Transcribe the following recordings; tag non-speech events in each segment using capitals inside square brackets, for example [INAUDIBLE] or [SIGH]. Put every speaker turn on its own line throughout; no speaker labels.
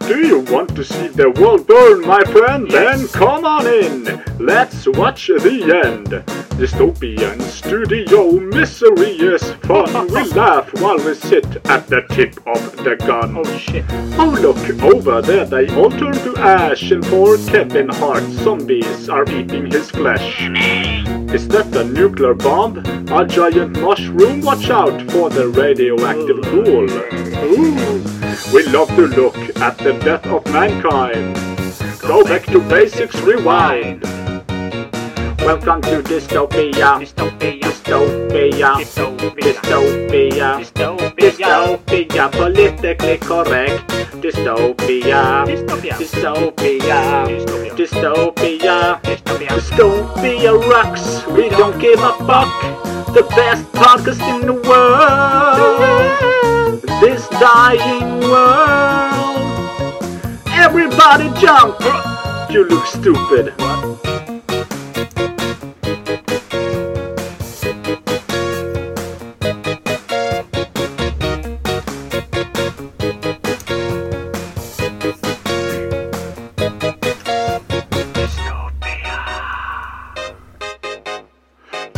Do you want to see the world burn, my friend? Then come on in. Let's watch the end. Dystopian studio misery is fun. We laugh while we sit at the tip of the gun.
Oh shit.
Oh, look over there, they all turn to ash, and poor Kevin Hart zombies are eating his flesh. Is that a nuclear bomb? A giant mushroom? Watch out for the radioactive pool. Ooh. We love to look at the death of mankind. Go back to basics, rewind. Welcome to dystopia.
Dystopia.
Dystopia.
Dystopia.
Dystopia.
Dystopia.
Dystopia, politically correct. Dystopia.
Dystopia.
Dystopia.
Dystopia.
Dystopia.
Dystopia.
Dystopia rocks. We don't give a fuck. The best podcast in the world. This dying world. Everybody jump. You look stupid.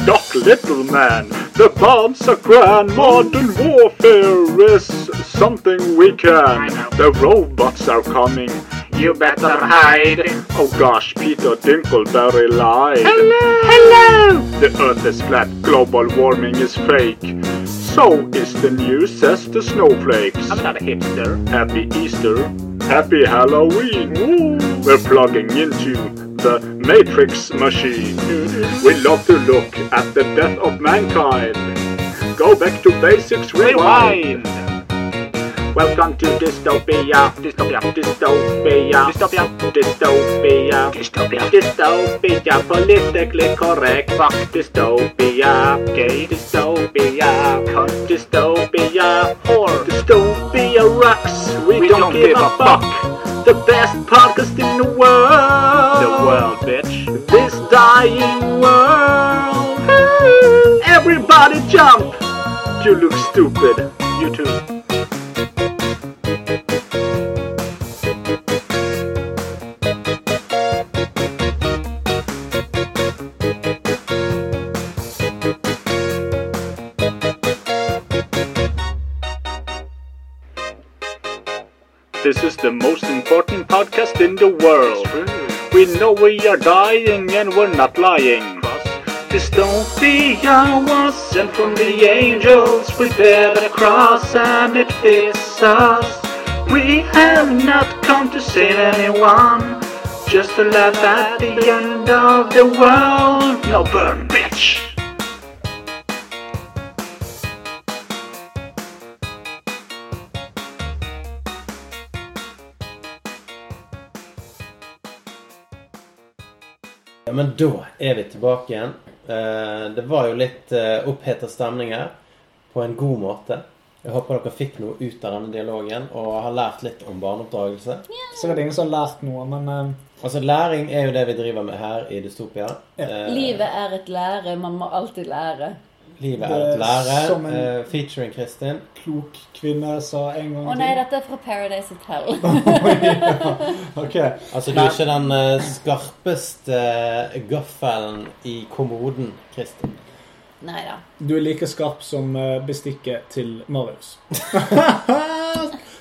Doc Little Man, the bombs are grand. Modern warfare is something we can. The robots are coming. You better hide. Oh gosh, Peter Dinkleberry lied. Hello! Hello! The earth is flat, global warming is fake. So is the news, says the snowflakes.
I'm not a hipster.
Happy Easter. Happy Halloween. We're plugging into the Matrix machine. We love to look at the death of mankind. Go back to basics, rewind.
Rewind.
Welcome to dystopia.
Dystopia.
Dystopia.
Dystopia.
Dystopia.
Dystopia.
Dystopia, politically correct. Fuck dystopia. Gay dystopia. Cunt dystopia.
Or
Dystopia rocks. We, don't, give, a fuck. The best podcast in the world.
the world, bitch.
This dying world. Everybody jump. You look stupid.
You too.
This is the most important podcast in the world. We know we are dying and we're not lying. Dystopia was sent from the angels. We bear the cross and it fits us. We have not come to save anyone, just to laugh at the end of the world. No burn, bitch.
Ja, men da er vi tilbake igjen. Eh, Det var jo litt eh, oppheta stemning her, på en god måte. Jeg håper dere fikk noe ut av denne dialogen og har lært litt om barneoppdragelse.
Sikkert ingen som har lært noe, men eh,
Altså, Læring er jo det vi driver med her i Dystopia. Eh,
Livet er et lære, man må alltid lære.
Livet
Det
er
er
et lære.
som en-
eh, Featuring Kristin.
klok kvinne sa en gang
Å nei, dette er fra Paradise Hotel.
Ok,
Altså, du er ikke den eh, skarpeste eh, gaffelen i kommoden, Kristin.
Nei da.
Du er like skarp som eh, bestikket til
[LAUGHS]
Marius.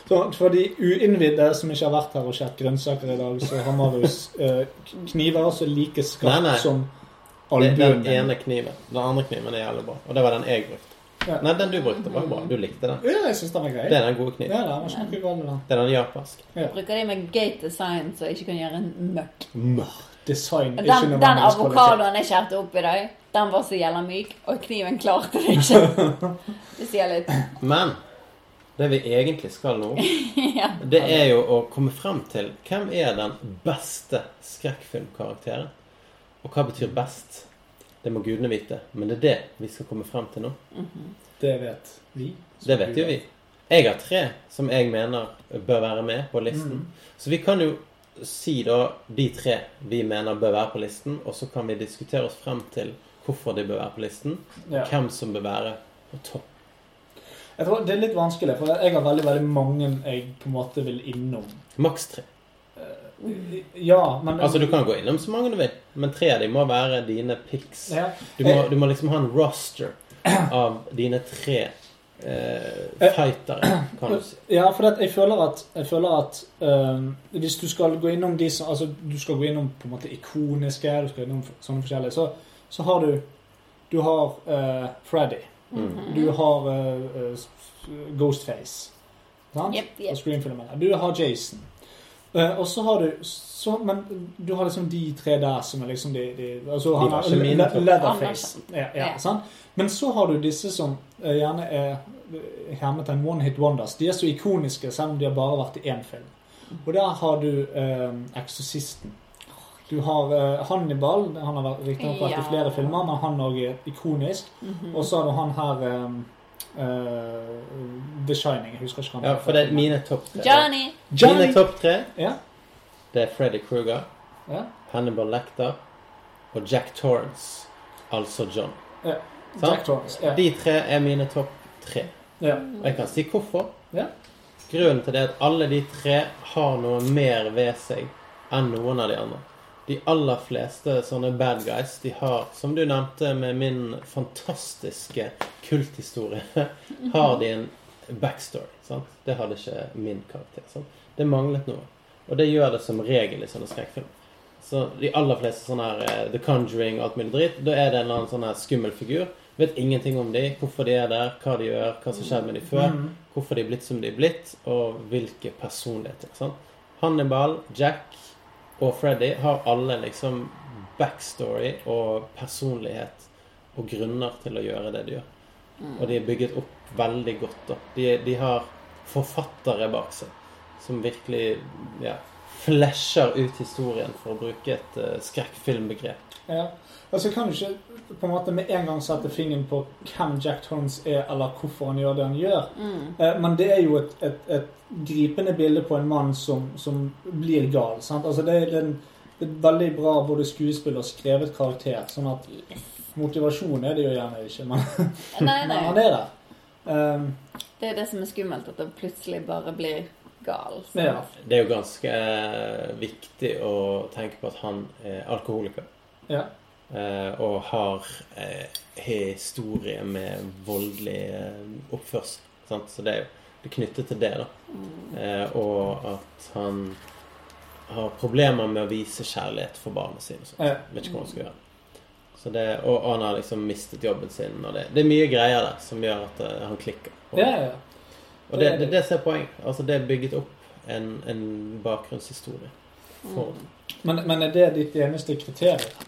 Så For de uinnvidde som ikke har vært her og skjært grønnsaker i dag, så har Marius eh, k- kniver som er like skarp
Nei, nei.
som
Det er
albuen.
den ene kniven. Den andre kniven er jævlig bra. Og det var den jeg brukte.
Ja.
Nei, den du brukte, var bra. Du likte den.
Ja, jeg syns den var grei.
Det er den gode
Ja,
kniven.
det var ikke noe galt med den.
Det er den japanske.
Bruker de med gate design så jeg ikke kan gjøre en møkk.
Design er ikke
Den, den
nødvendigvis kvalitet.
avokadoen jeg skjærte opp i dag, den var så jævla myk, og kniven klarte det ikke. Det sier litt.
Men det vi egentlig skal nå,
Ja.
det er jo å komme frem til hvem er den beste skrekkfilmkarakteren. Og hva betyr best? Det må gudene vite. Men det er det vi skal komme frem til nå.
Det vet vi.
Det vet jo vi. Jeg har tre som jeg mener bør være med på
Mm.
listen. Så vi kan jo si da de tre vi mener bør være på listen, og så kan vi diskutere oss frem til hvorfor de bør være på listen.
Ja.
Hvem som bør være på topp.
Jeg tror Det er litt vanskelig, for jeg har veldig veldig mange jeg på en måte vil innom.
Maks tre.
Ja, men
Altså, du kan gå innom så mange du vil, men tre av dem må være dine picks.
ja.
Du må, du må liksom ha en roster av dine tre eh, fightere, kan du si.
Ja, for det, at jeg føler at, jeg føler at øhm, hvis du skal gå innom de som Altså, du skal gå innom på en måte ikoniske, du skal innom sånne forskjellige, så, så har du Du har øh, Freddy.
Mm.
Du har øh, øh, Ghostface. Sant?
Jep, jep.
Og Scream-filmene. Du har Jason. Eh, og så har du så, Men du har liksom de tre der som er liksom de, de altså, han
var
har
ikke mine
Le-
to.
Leatherface. Ja, ja,
Ja.
sant? Men så har du disse som eh, gjerne er eh, hermet en one hit wonders. De er så ikoniske selv om de har bare vært i én film. Og der har du eh, Eksorsisten. Du har eh, Hannibal. Han har vært- riktignok vært
Ja.
i flere filmer, men han òg er ikonisk. Og så har du han her eh, eh, The Shining. Jeg husker ikke hva han
Ja,
heter.
for det er mine topp tre.
Johnny.
Johnny!
Mine topp tre,
Ja,
det er Freddy Kruger,
ja.
Hannibal Lecter og Jack Torrance, altså John.
Ja.
Sant?
Jack Torrance. Ja.
De tre er mine topp tre.
Ja.
Og jeg kan si hvorfor.
Ja.
Grunnen til det er at alle de tre har noe mer ved seg enn noen av de andre. De aller fleste sånne bad guys de har, som du nevnte med min fantastiske kulthistorie, [LAUGHS] har de en backstory. sant? Det hadde ikke min karakter. sant? Det manglet noe. Og det gjør det som regel i sånne skrekkfilmer. Så de aller fleste sånne her eh, The Conjuring og alt mulig dritt, da er det en eller annen sånn her skummel figur. Vet ingenting om de, hvorfor de er der, hva de gjør, hva som skjedde med de før, hvorfor de er blitt som de er blitt, og hvilke personligheter. sant? Hannibal, Jack og Freddy har alle liksom backstory og personlighet og grunner til å gjøre det de gjør. Og de er bygget opp veldig godt. Da. De, de har forfattere bak seg som virkelig ja, flasher ut historien, for å bruke et eh, skrekkfilmbegrep.
Ja. Altså, jeg kan jo ikke på en måte med en gang sette fingeren på hvem Jack Torrance er, eller hvorfor han gjør det han gjør. Eh, Men det er jo et, et, et gripende bilde på en mann som, som blir gal. Sant? Altså, det er en, et veldig bra både skuespill og skrevet karakter. Sånn at motivasjon er det jo gjerne ikke, men,
Nei,
men han
nei.
er der. Um,
Det er det som er skummelt, at det plutselig bare blir gal.
men ja.
Det er jo ganske eh, viktig å tenke på at han er alkoholiker.
ja.
eh, og har eh, historie med voldelig eh, oppførsel. Sant? Så det er jo det er knyttet til det, da. Eh, og at han har problemer med å vise kjærlighet for barna sine. og sånt.
Ja.
Vet ikke hva han skal gjøre. Så det, og, og han har liksom mistet jobben sin. Og det, det er mye greier der som gjør at eh, han klikker. Og,
ja, ja.
og det, det, det som er poeng. Altså, det er bygget opp en, en bakgrunnshistorie. For,
Men, men er det ditt eneste kriterium?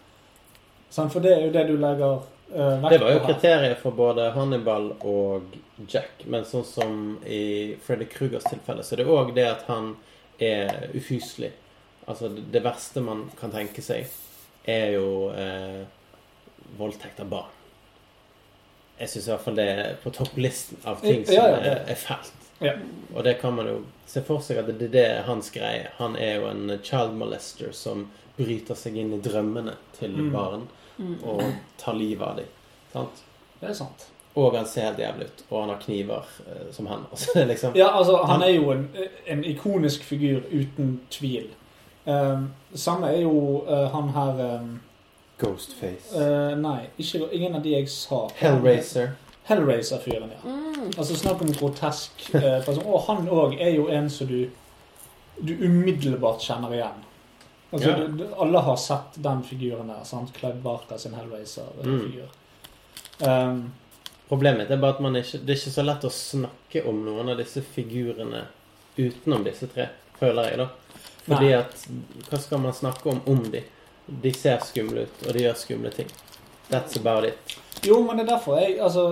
Sant? For det er jo det du legger eh, vekt på.
Det var jo
her.
kriteriet for både Hannibal og Jack. Men sånn som i Freddy Krugers tilfelle, så er det òg det at han er ufyselig. Altså, det det verste man kan tenke seg, er jo eh, voldtekt av barn. Jeg syns i hvert fall det er på topplisten av ting som
Ja, ja, ja.
er, er fælt.
Ja.
Og det kan man jo se for seg at det, det er hans greie. Han er jo en child molester som bryter seg inn i drømmene til
Mm.
barn og tar livet av dem. Sant?
Det er sant.
Og han ser helt jævlig ut, og han har kniver eh, som hender. Så det er [LAUGHS] liksom
Ja, altså, han er jo en, en ikonisk figur, uten tvil. Um, samme er jo eh, han her um,
Ghostface.
eh, Nei, ikke, ingen av de jeg sa.
Hellraiser.
Hellraiser-fyren, ja. Altså, snakk om grotesk eh, person. Og han òg er jo en som du, du umiddelbart kjenner igjen. Altså,
Ja.
du, du, alle har sett den figuren der. sant? Clive Barker sin Hellraiser-figur.
Mm.
Um,
Problemet mitt er bare at man ikke, det er ikke så lett å snakke om noen av disse figurene utenom disse tre, føler jeg, da. Fordi
Nei.
at Hva skal man snakke om om de? De ser skumle ut, og de gjør skumle ting. That's about it.
Jo, men det er derfor jeg Altså,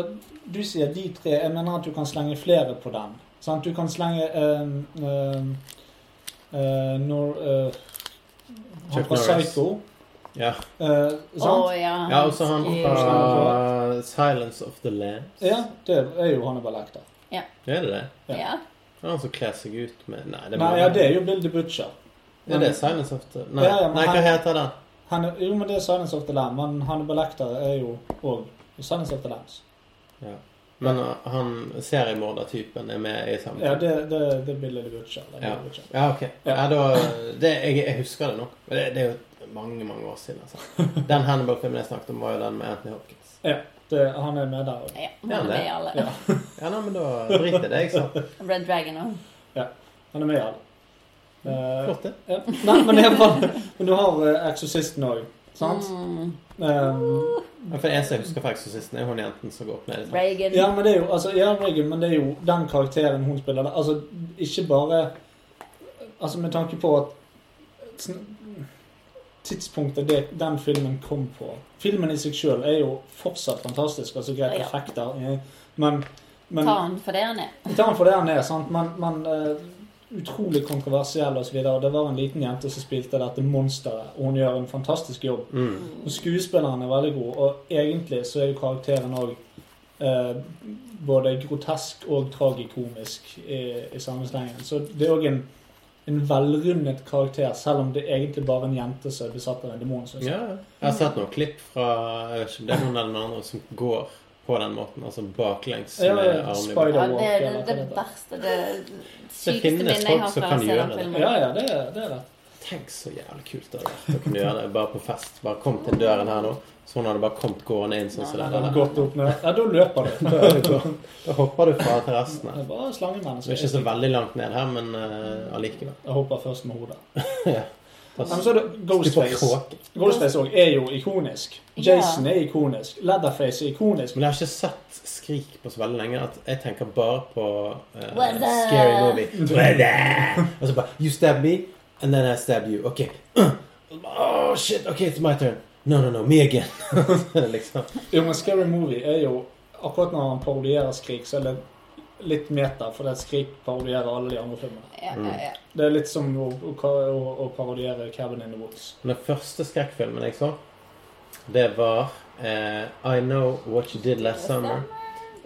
du sier de tre. Jeg mener at du kan slenge flere på den. Sant? Du kan slenge ehm, ehm, eh, Når eh, Han
Chuck
fra
Norris.
Psycho.
Ja.
eh,
Å
sant?
ja. sånn.
ja også han uh, fra Silence of the Lambs.
sånn Ja, det er jo Hannibal Lecter.
Er det det?
Ja.
Det er han som kler seg ut med Nei, det,
Nei, ja, det er jo Bill the Butcher.
Er det Silence of the Nei,
Ja, ja, men
nei hva
han-
heter den?
Han er, jo, men det er Silence of the Lamb, men Hannibal Lecter er jo òg i Silence of the Lambs.
Ja. Men uh, han seriemordertypen er med i samme
Ja, det, det, det blir The Witcher. Det blir
Ja.
The Witcher.
ja, ok. Ja, da, det, jeg, jeg husker det nå. Men Det, det er jo mange mange år siden.
[LAUGHS]
altså. Den Hannibal-filmen jeg snakket om, var jo den med Anthony Hopkins.
Ja, det, han er med der òg.
Ja,
Ja,
han er
det.
med i alle.
Ja.
Ja, nei, men da driter jeg det, jeg sa.
Red Dragon òg.
Han er med i alle. Eh,
Flott, det.
ja. Nei, men, det er bare, men du har eh, Exorcisten òg, sant?
Mm.
Eh,
Ja, for det eneste jeg husker fra Exorcisten, er hun jenten som går opp ned i trappa.
Reagan.
ja, men det er jo altså, ja, Regan, men det er jo den karakteren hun spiller. Altså, ikke bare Altså, med tanke på at sn- Tidspunktet det, den filmen kom på Filmen i seg sjøl er jo fortsatt fantastisk. Altså, greit
Ja.
effekter, eh, men, men
Ta han for det han er.
Vi tar den for det han er, sant? men, men eh, utrolig kontroversiell osv. Det var en liten jente som spilte dette monsteret, og hun gjør en fantastisk jobb.
Mm.
Og Skuespilleren er veldig god, og egentlig så er jo karakteren òg både grotesk og tragikomisk i, i samme slengen. Så det er òg en, en velrundet karakter, selv om det er egentlig bare en jente som er besatt av en demon. synes jeg.
Ja, ja. jeg har sett noen klipp fra jeg vet ikke, om det er noen eller noen andre som går på den måten, altså baklengs
Ja,
med
ja,
armene i
spider.
bakken.
Ja,
Walk,
det
eller hva
er det,
det
det
heter.
verste, det sykeste
finnes
minnet jeg
folk
har
som
fra
kan
å se
gjøre
den
det.
filmen.
Ja, ja, det er det. Er det.
Tenk så jævlig kult det hadde vært å kunne gjøre det bare på fest. Bare kom til døren her nå, så hun hadde bare kommet gående inn sånn som det der.
Godt opp med. Ja, da løper du.
[LAUGHS] Da er det bra. Da hopper du fra terrassen
Det
her.
er
Det
bare
er ikke så
slangemennesker.
veldig langt ned her, men eh, allikevel.
Jeg hopper først med hodet.
Ja. Da
Ja, men så er det
stupper
Ghostface.
kråke.
Ghostface også er jo ikonisk.
Ja.
Jason er ikonisk. Leatherface er ikonisk.
Men jeg har ikke sett Skrik på så veldig lenge at jeg tenker bare på eh,
What the-
Scary Movie. What the- Og så bare You stab me, and then I stab you. Ok. [CLEARS THROAT] Oh shit, ok, it's my turn. No, no, no, me again. [LAUGHS] liksom.
Jo, men Scary Movie er jo Akkurat når han parodierer Skrik, så er det litt meta, for det er Skrik parodierer alle de andre filmene.
Ja, ja, ja.
Det er litt som å, å, å, å parodiere Cabin in the Woods.
Den første skrekkfilmen jeg så, det var eh, I Know What You Did Last Summer.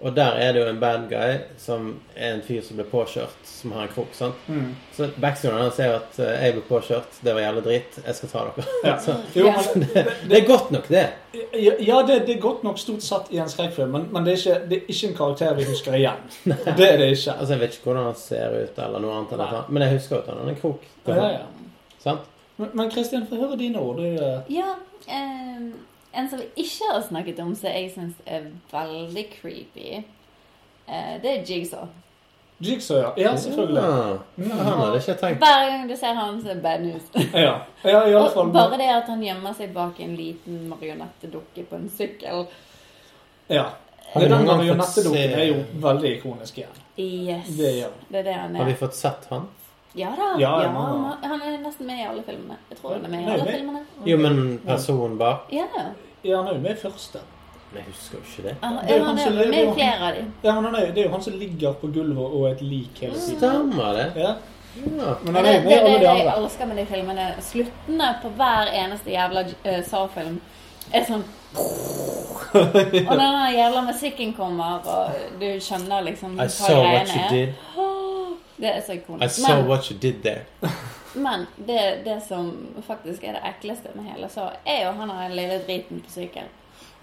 Og der er det jo en bad guy som er en fyr som ble påkjørt, som har en krok. sant?
Mm.
Så backstoryen hans er jo at eh, jeg ble påkjørt, det var jævlig drit, jeg skal ta dere.
[LAUGHS] Ja.
[LAUGHS] så,
Jo, men,
det er godt nok, det.
ja, ja det, det er godt nok stort sett i en skrekkfilm, men, men det, er ikke, det er ikke en karakter vi husker igjen. Det er det ikke.
Altså, Jeg vet ikke hvordan han ser ut, eller noe annet, eller, noe, men jeg husker at han har en krok.
Ja, ja.
Sant?
Men- Men Kristian, få høre dine ord. Du, eh,
ja ehm, en som vi ikke har snakket om, som jeg syns er veldig creepy, eh, det er Jigsaw.
Jigsaw, ja. Ja, selvfølgelig.
Ja,
Mm.
Ah, han hadde ikke tenkt
Hver gang du ser han, så er det bad news.
Ja, ja i alle fall.
Og bare det at han gjemmer seg bak en liten marionettedukke på en sykkel.
Ja.
Har vi
Den
noen gang
marionettedukken
fått se-
er jo veldig ikonisk igjen.
Yes.
Det gjør han.
Det er det han
Har
er.
vi fått sett han?
Ja da.
Ja,
Ja,
ja,
han,
ja.
han er nesten med i alle filmene. Jeg tror han er med i
Nei,
alle
det-
filmene.
Jo, men personen bak
Ja, ja.
Ja, han er jo med i første.
Jeg husker jo ikke det.
Han,
Det er jo
han
han
er
som lever,
med i
han.
flere av dem.
Ja, men han er, jo- Det er jo han som ligger på gulvet og er et lik hele tiden.
Stemmer det?
Ja,
Ja.
men han
Det, det,
er jo
det,
med i
det,
alle de
jeg
andre.
elsker med de filmene. Sluttene på hver eneste jævla eh, Saw-film er sånn Og den der jævla musikken kommer, og du skjønner liksom
I saw what you
er.
did.
Det er så
I
ikonisk.
saw
Men,
what you did there.
men det, det som faktisk er det ekleste med hele Saw, er jo han der lille driten på sykkelen.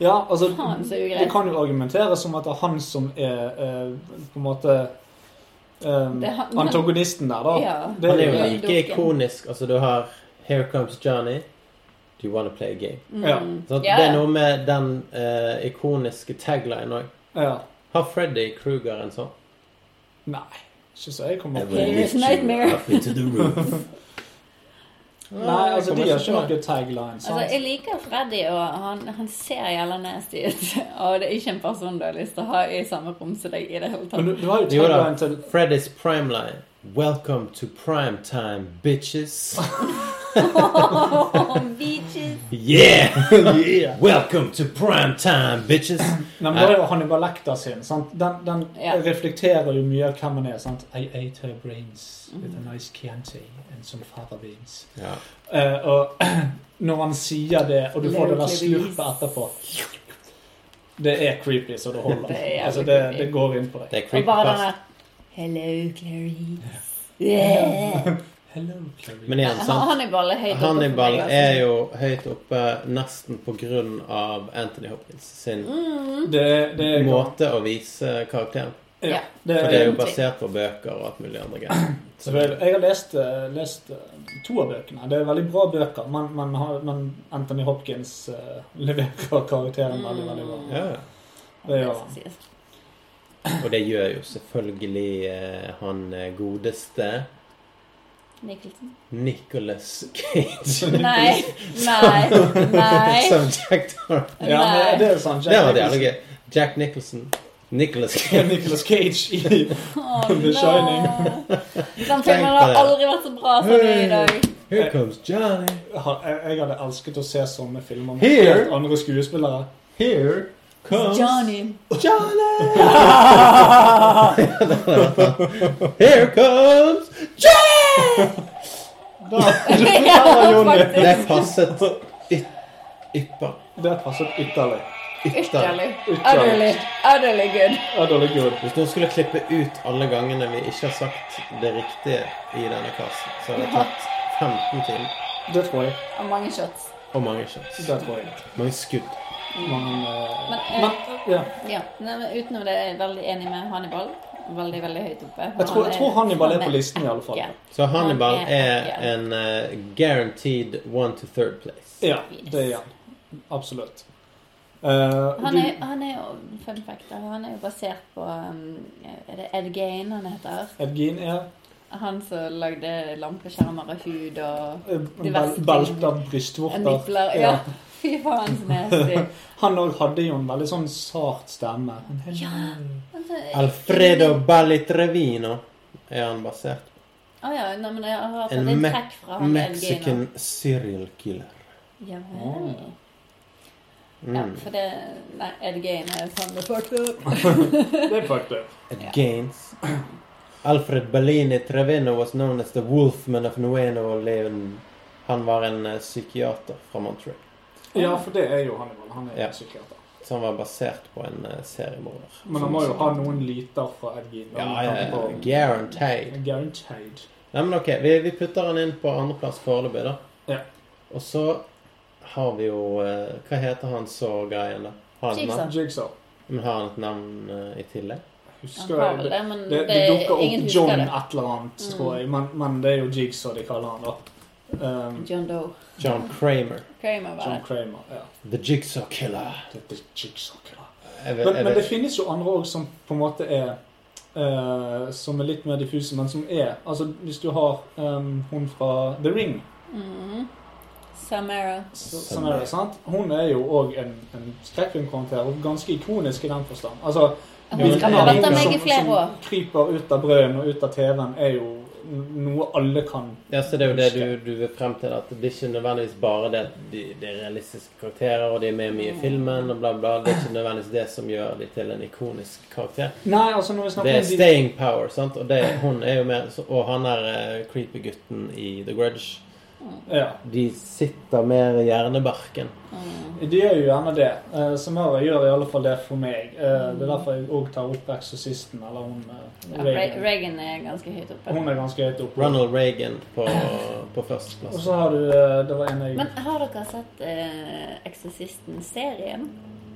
Ja, altså,
Faen, så ugreit.
Det kan jo argumenteres som at det er han som er eh, på en måte eh,
Det er han-
antagonisten der, da.
Ja.
Det
Han er
jo
jo
Ja.
like
Dukken.
ikonisk. Altså, du har Here Comes Johnny. Do you wanna play a game?
Ja.
Så
Mm. Ja.
Det er noe med den eh, ikoniske taglinen òg.
ja.
Har Freddy Kruger en sånn?
Nei, ikke så jeg kommer
I
på.
will
It's
lift you
nightmare.
up into the roof.
Nei, altså, de
kommer
har
ikke
ikke
på det.
noen tagline,
Altså, jeg
sant?
liker Freddy, og han, han ser jævla nasty ut. [LAUGHS] Og det er ikke en person du har lyst til å ha i samme rom som deg i det hele
Men
tatt.
du, du har jo
[LAUGHS] Jo da.
tagline til
Freddy's prime line. Welcome to prime time, [LAUGHS] bitches.
Åh, Beaches!
Yeah! Welcome to prime time, bitches.
Nei, men da er jo Hannibal Lecter sin. Sant? Den, den
Ja.
reflekterer jo mye av hvem han er. Sant? I ate her brains with a nice Chianti and some fava beans.
Ja.
Eh, og [CLEARS THROAT] når han sier det, og du får det der slurpet etterpå Det er creepy så det holder.
Det er jævlig
altså, det,
creepy.
det går inn på deg.
Det er
Og bare den
creepypasta.
der Hello, Clarice. Yeah.
Hello, Chloe.
[LAUGHS]
Men igjen, sant?
Hannibal er høyt oppe for meg,
Hannibal
altså.
er jo høyt oppe nesten på grunn av Anthony Hopkins sin
Mm.
det, det er
måte å vise karakteren.
Ja.
Ja, det
For det er
er
jo basert på bøker og alt mulig andre [CLEARS THROAT] greier.
Så vel, Jeg har lest, eh, lest eh, to av bøkene. Det er veldig bra bøker, men, men, har- men Anthony Hopkins eh, leverer karakteren veldig, veldig bra.
Ja.
Det er
Det
jo
skal sies.
Og det gjør jo selvfølgelig eh, han godeste
Nicholson.
Nicholas Cage.
Nei, nei, nei.
Som Jack Dark.
[LAUGHS] Ja, men det er sånn.
Det var
[LAUGHS]
det jævlig gøy. Jack Nicholson. Nicholas Cage.
Nicholas Cage i
Åh,
The Shining.
nei. Den
Tenk
filmen har
på det.
aldri vært så bra som den er i dag.
[LAUGHS] Here comes Johnny.
Ha- Jeg jeg hadde elsket å se sånne filmer med
Here.
helt andre skuespillere.
Here comes
Johnny.
[LAUGHS] Here comes
[LAUGHS] Ja, faktisk.
Det passet yt- ypper.
Det passet ytterlig.
Ytterlig.
Utterlig. Utterlig. Utterlig good.
Utterlig good.
Hvis noen skulle klippe ut alle gangene vi ikke har sagt det riktige i denne casten, så hadde det tatt 15 timer.
Det tror jeg.
Og mange shots.
Og mange shots.
Det tror jeg.
Mange skudd.
Men, eh,
Men, eh,
men ja.
Ja, nei, men utenom det er jeg veldig enig med Hannibal. Veldig, veldig høyt oppe.
jeg, tror, jeg tror Hannibal er på listen, i alle fall.
Ja.
Så Hannibal
Han er-
er en eh, guaranteed one to third place.
Ja, det er han. Absolutt. Eh,
Han
du-
er, han er jo fun fact, da, han er jo basert på um, Er det Ed Gein han heter?
Edgin er
Han som lagde lampeskjermer av hud og
eh,
Diverse ting.
bel- belter, brystvorter.
nipler. Ja, [LAUGHS] fy faen så nasty.
Han òg hadde jo en veldig sånn sart stemme.
Ja. [LAUGHS] Altså,
Alfredo Balitrevino er han basert på.
Å ja, nei, men jeg har hørt
En
at det er
me-
trekk fra han Ed Gein.
Mexican Mm. serial killer. Mm.
Ja vel. Ja, for det Nei, Ed Gein er sånn det fucked up.
Det er faktisk
Gaines. Alfred Bellini Trevino was known as the Wolfman of Nueno Leon. Han var en eh, psykiater fra Montreal.
Ja, for det er jo Hannibal. Han er
Ja.
psykiater.
Så han var basert på en eh, seriemorder.
Men han må jo ha noen lyter fra Edgin.
Ja, ja, ja. Guaranteed.
Guaranteed.
Nei, men ok, vi, vi putter han inn på andreplass foreløpig, da.
Ja.
Og så har vi jo eh, Hva heter han så greien, da? Har han et
Jigsaw.
navn,
Jigsaw.
Men har han et navn eh, i tillegg?
Han
Husker
har
jeg
vel
det,
det, men
det,
det,
dukker
ingen
opp John
husker det. Mm.
et eller annet, tror jeg. Men, men det er jo Jigsaw de kaller han, da. Um,
John Doe.
John Kramer.
Kramer var
John
det.
Kramer. Ja.
The Jigsaw Killer.
Det er Jigsaw. klar.
Jeg vet,
Men,
jeg
men det
vet.
finnes jo andre òg som på en måte er eh, Som er litt mer diffuse, men som er Altså, hvis du har um, hun fra The Ring
Mhm. Samara.
Så- Som er det, sant? Hun er jo òg en, en skrekkfilmkarakter, og ganske ikonisk i den forstand. Altså,
Hun
men
skal
det
ha
er
vært
jo
av meg
som,
i flere år.
som kryper ut av brøden og ut av TV-en, er jo n- noe alle kan
Ja, så det er jo det du, du vil frem til, at det blir ikke nødvendigvis bare det at de, de er realistiske karakterer, og de er med mye
Mm.
i filmen, og bla, bla. Det er ikke nødvendigvis det som gjør de til en ikonisk karakter.
Nei, altså når vi
Det
snakker
er
om de-
staying power, sant? Og det, hun er jo med, så- og han er eh, creepy gutten i The Grudge.
ja,
De sitter mer i hjernebarken.
De gjør jo gjerne det. Eh, Samara gjør i alle fall det for meg. Eh, det er derfor jeg òg tar opp Eksorsisten, eller hun eh,
Ja, Re-
Reagan.
Reagan er ganske høyt
Hun
oppe.
er ganske høyt oppe.
Ronald Reagan på, på
Og
førsteplass.
så har du eh, Det var en jeg
Men har dere sett eh, Exorcisten-serien?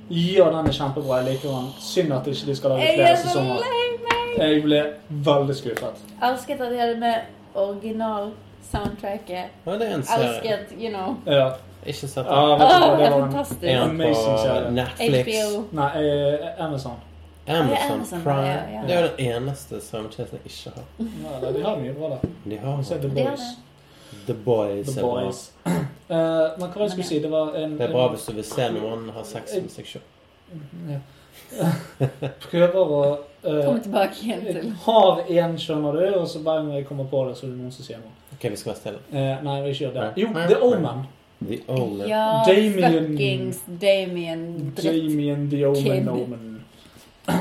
Ja, den er kjempebra. Jeg liker den. Synd at ikke de skal lage
Jeg
flere
er så
sesonger.
lei meg!
Jeg ble veldig skuffet.
Elsket at de hadde med original-soundtracket.
Ja, det er en serie.
Elsket, you know.
Ja.
Ikke sett
Ja,
den.
vet du hva,
Åh, det er
var en-
fantastisk.
Er han
Amazing
på
serie.
Netflix?
HBO.
Nei, eh, Amazon.
Ja,
Amazon
Amazon,
Prime.
ja, sånn ja.
Det er jo den eneste strømmetjenesten jeg ikke har.
Nei, nei, de har mye bra der.
De har
Se The
Det er
Boys.
det.
The Boys.
The
er bra.
Boys. Eh, men hva var det jeg skulle si? Det var en
Det er bra hvis du vil se noen ha sex med seg sjøl.
Ja. [LAUGHS] Prøver å
Kom
eh,
tilbake igjen til
Jeg har én, skjønner du, og så bare når jeg kommer på det, så er det noen som sier noe.
Ok, vi skal være stille.
Eh, nei, vi ikke gjør det. Jo, The Omen.
The Omen.
Ja,
Damien-
fuckings Damien dritt.
Damien The
Kid.
Omen Omen.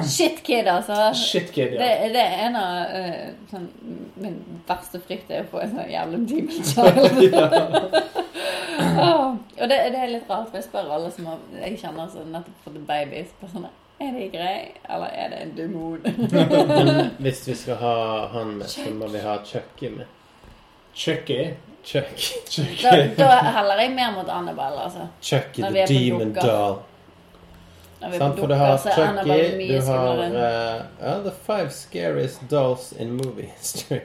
Shit kid, altså.
Shit, kid,
Det,
ja.
det er en av eh, sånn, Min verste frykt er å få en sånn jævlig demon child. Åh, Og det, det er litt rart, for jeg spør alle som har, jeg kjenner som nettopp fått en baby så bare sånn, Er de grei, eller er det en
[LAUGHS]
demon?
Men hvis vi skal ha han med, så må vi ha Chucky med.
Chucky.
Chuck.
Da, da heller jeg mer mot Annabelle, altså.
Chuck
Når
the
vi er på
Demon
dukker.
Doll.
Når vi er på
Sant? For du
dukker,
har
så er Annabelle
Chucky,
mye
du har
skumlere.
eh, ja, The Five Scariest Dolls in Movie History.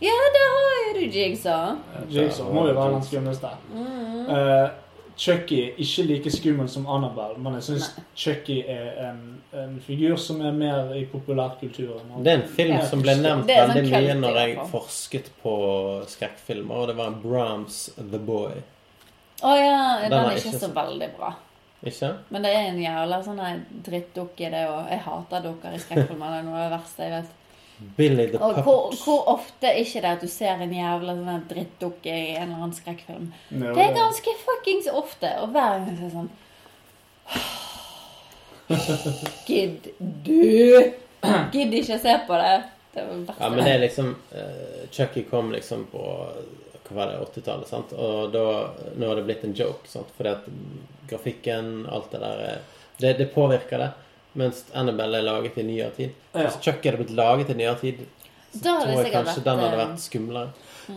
Ja, der har jo du Jigsaw.
Jigsaw Eh, må jo være den skumleste.
Mm.
Eh, Chucky er ikke like skummel som Annabelle, men jeg syns Chucky er en, en figur som er mer i
[LAUGHS]
populærkulturen.
Det er en film
Ja.
som ble nevnt
Det er sånn
veldig mye
kult,
når
i
jeg
hvert fall.
forsket på skrekkfilmer, og det var en Brahms The Boy.
Å ja, den,
var
er ikke
ikke
så
så-
veldig bra.
Ikke?
Men det er en jævla sånn her drittdukke, det òg. Jeg hater dukker i skrekkfilmer. Det er noe av det verste jeg vet.
Billy the
Og hvor,
Puppet.
hvor ofte er ikke det at du ser en jævla sånn her drittdukke i en eller annen skrekkfilm?
Nå,
Det er ganske fuckings ofte. Og hver gang så er det sånn Gidd du? Gidd ikke se på det. Det var det verste.
Ja, men det er liksom eh, Chucky kom liksom på hva var det, 80-tallet, sant? Og da, nå har det blitt en joke, sant? Fordi at grafikken, alt det der eh, Det, det påvirker det. Mens Annabelle er laget i nyere tid.
Ja.
Hvis Chucky hadde blitt laget i nyere tid,
Da hadde
tror
det
jeg
sikkert
kanskje
vært,
den hadde
eh,
vært skumlere.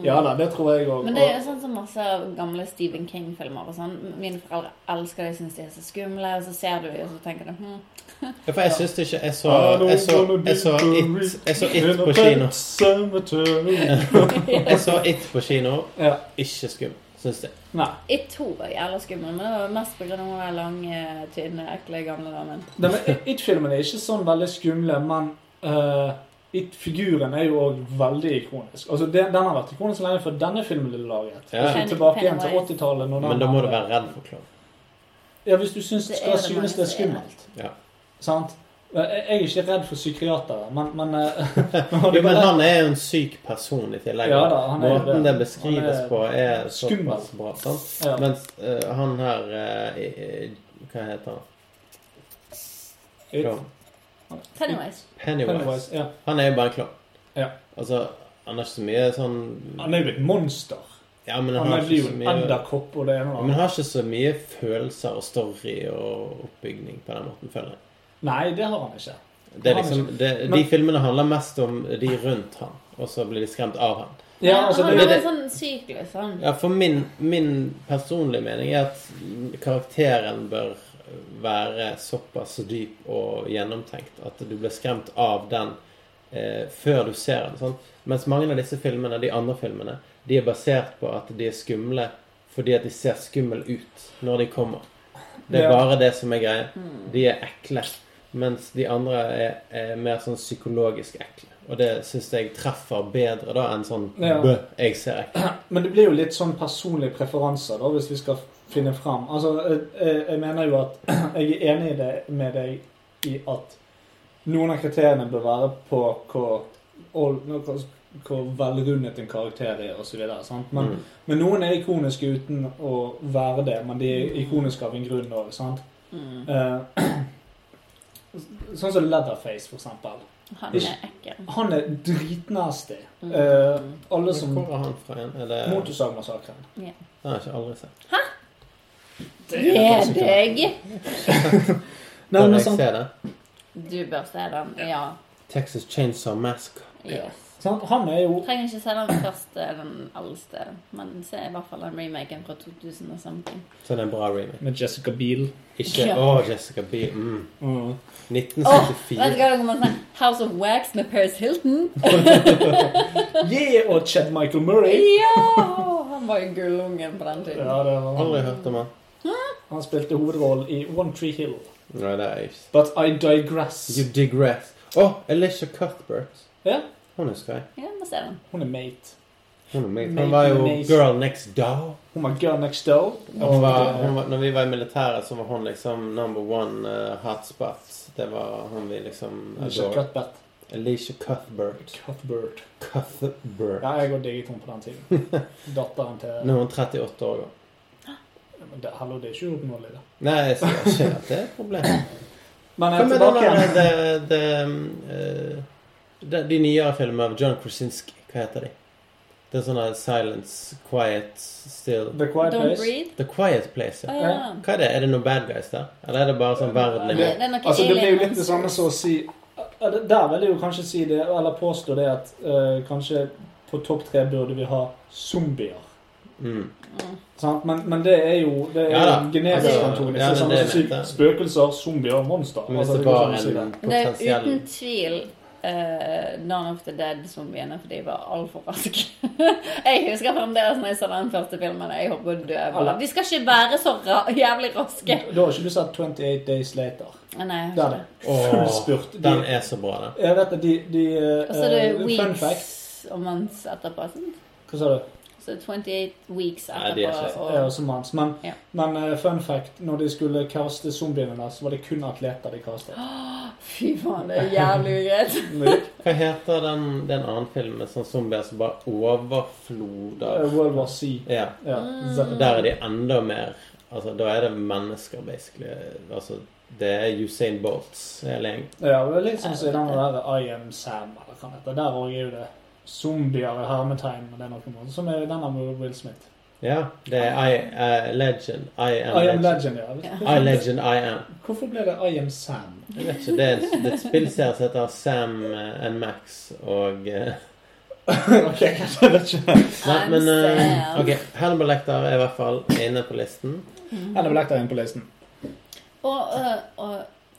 Ja da, det tror jeg òg.
Men det er jo sånn som masse gamle Stephen King-filmer og sånn. Mine foreldre elsker det, syns de er så skumle, og så ser du dem, og så tenker du hm.
Ja, for jeg syns det ikke Jeg så, jeg så, jeg så, it, jeg så It på kino. Jeg så It på kino.
Ja.
Ikke skum, syns jeg.
Nei.
Jeg tror jeg er jævla skummel, men det var mest pga. den lange, tynne, ekle gamle damen.
Nei, men It-filmen er ikke sånn veldig skumle, men eh, It-figuren er jo òg veldig ikonisk. Altså, den, den har vært ikonisk lenge før denne filmen ble laget.
Ja.
Ikke tilbake igjen til 80-tallet. når den
Men da må
var-
du være redd for klovn.
Ja, hvis du syns
Det er
skal
det mange
synes det er
som er.
skummelt.
Ja.
Sant? Eh, Jeg er ikke redd for psykiatere, men, men
[LAUGHS]
eh, [LAUGHS]
Jo, men han er jo en syk person i tillegg.
Ja da, han er jo
Måten
det.
det beskrives
Han er
på, er
skummel.
såpass bra. Sant?
Ja.
Mens eh, han her eh, i- i- Hva heter han? Klovn.
Pennywise.
Pennywise.
Pennywise, ja.
Han er jo bare en klovn.
Ja.
Altså, han har ikke så mye sånn
Han er jo et monster.
Ja, men han,
Han
har
er jo
ikke så
en
mye
edderkopp og det ene
Ja,
og
men
det
han har ikke så mye følelser og story og oppbygning på den måten, føler jeg.
andre. Nei, det har han ikke.
Det er
Han har
liksom, det, de
Men-
filmene handler mest om de rundt han, og så blir de skremt av han.
Ja, altså,
han
det,
har
det-
en sånn syklus, han.
Ja, for min, min personlige mening er at karakteren bør være såpass dyp og gjennomtenkt at du blir skremt av den eh, før du ser den. Sånn. Mens mange av disse filmene, de andre filmene, de er basert på at de er skumle fordi at de ser skummel ut når de kommer. Det er
Ja.
bare det som er greia. De er ekle. Mens de andre er, er mer sånn psykologisk ekle. Og det syns jeg treffer bedre da enn sånn
Ja.
bø, jeg ser ekkel.
Men det blir jo litt sånn personlige preferanser, da, hvis vi skal finne fram. Altså, jeg, jeg, jeg mener jo at [CLEARS THROAT] jeg er enig i det, med deg i at noen av kriteriene bør være på hvor, all- nå, hvor, hvor velrundet en karakter er, osv. Men,
Mm.
men noen er ikoniske uten å være det, men de er ikoniske av en grunn òg.
Mm.
[CLEARS THROAT] sånn som Leatherface, for eksempel.
Han er ekkel.
Han er dritnasty.
Mm.
Eh, alle
Men
som
Hvor er han fra igjen? Er det...
Motorsagmassakren.
Den har jeg ikke aldri sett.
Det er deg!
Nei,
Bør
men
jeg
sant,
se det?
Du bør se den. Ja.
Texas Chainsaw Massacre.
Yes.
sant, han er jo
Trenger ikke se den første, den eldste, men se i hvert fall den remaken fra 2000 og something.
Så det er en bra remake.
Med Jessica Biel.
Ikke
Ja.
Å, Jessica Biel. Mm.
Åh, vet du
1974.
hva det kommer sånn House of Wax med Paris Hilton?
Yeah, og Chad Michael Murray.
Ja! Han var jo gullungen på den tiden.
Ja, det var
Aldri
han.
hørt om han.
Han spilte hovedrollen i One Tree Hill.
Nei, det er jeg ikke.
But I digress.
You digress. Å, Alicia Cuthbert.
Ja,
Hun husker jeg.
Ja, må se den.
hun er mate.
Hun er meget.
Mate
Hun var jo
Mason.
girl next door.
Hun var girl next door.
Hun var, hun var, når vi var i militæret, så var hun liksom number one eh, hot spot. Det var hun vi liksom
Ikke
adorer.
Cuthbert.
Alicia Cuthbert.
Cuthbert.
Cuthbert.
Ja, jeg har digget henne på den [LAUGHS] tiden. Datteren til
Nå er hun 38 år gammel.
Men det- Hallo, det er ikke uoppnåelig, det.
Nei, jeg sier ikke at det er et problem.
Men
Hva
jeg er
med
tilbake
den
igjen.
der, det, det, um, eh, de, de nyere filmene av John Krasinski, hva heter de? Det er sånn der Silence, Quiet, Still
The Quiet
Don't
Place.
Breathe.
The Quiet Place,
Å
ja.
ja.
Hva er det? Er det noen bad guys der? Eller er det bare sånn verden er
Det,
med?
det er noe
Altså, det blir jo
alien-
litt det samme som å si Ja, det- Der vil jeg jo kanskje si det, eller påstå det at eh, kanskje på topp tre burde vi ha zombier.
Mm.
Sant? Men, men det er jo det er
Ja da.
jo generisk
Altså,
antagelig.
ja, det er
Så
det
sånn
jeg
som
mente.
Spøkelser, zombier, monster.
Men hvis
Altså,
det
det går
var
sånn å si det.
en
Det er
potensiell
uten tvil uh, Dawn of the Dead-zombiene, for de var altfor raske. [LAUGHS] jeg husker fremdeles når jeg så den første filmen. Jeg håper du er bare De skal ikke være så ra jævlig raske.
Da har ikke du sett 28 Days Later.
Ah, Nei, jeg
Der
har
er
ikke det.
det. Full
Åh,
spurt.
den
De,
er så bra, den.
jeg vet at de, de eh,
Og så er
eh,
det
Fun fact.
weeks og months etterpå. sant?
Hva sa du?
Så 28 weeks
Nei, de er
etterpå.
ikke-
Ja,
og,
som hans. Men,
Ja.
men eh, fun fact, når de skulle kaste zombiene der, så var det kun atleter de
[GASPS]
kastet.
fy faen, det er jævlig ugreit.
Hva heter den, det er en annen film med sånn zombier som bare
Eh,
overfloder?
World War C.
Ja.
Ja.
Mm.
Der er de enda mer Altså, da er det mennesker, basically. Altså, det er Usain Bolts hele gjengen.
ja, og det er litt sånn som i den der I Am Sam, eller hva det heter. Der også er jo det zombier i hermetegn, og det er noe måte. Som er denne med Will Smith.
Ja, det er I eh, Legend. I am,
I
legend.
Am Legend, ja.
I Legend, I am.
Hvorfor ble det I Am Sam?
Jeg vet ikke, det er, det er et spillserie som heter Sam eh, and Max og eh,
[LAUGHS] ok, kanskje [LAUGHS] jeg vet ikke.
Nei,
I'm
men eh,
Sam.
OK. Hannibal Lecter er i hvert fall inne på listen.
Eller ble det inn på listen?
Og, øh, og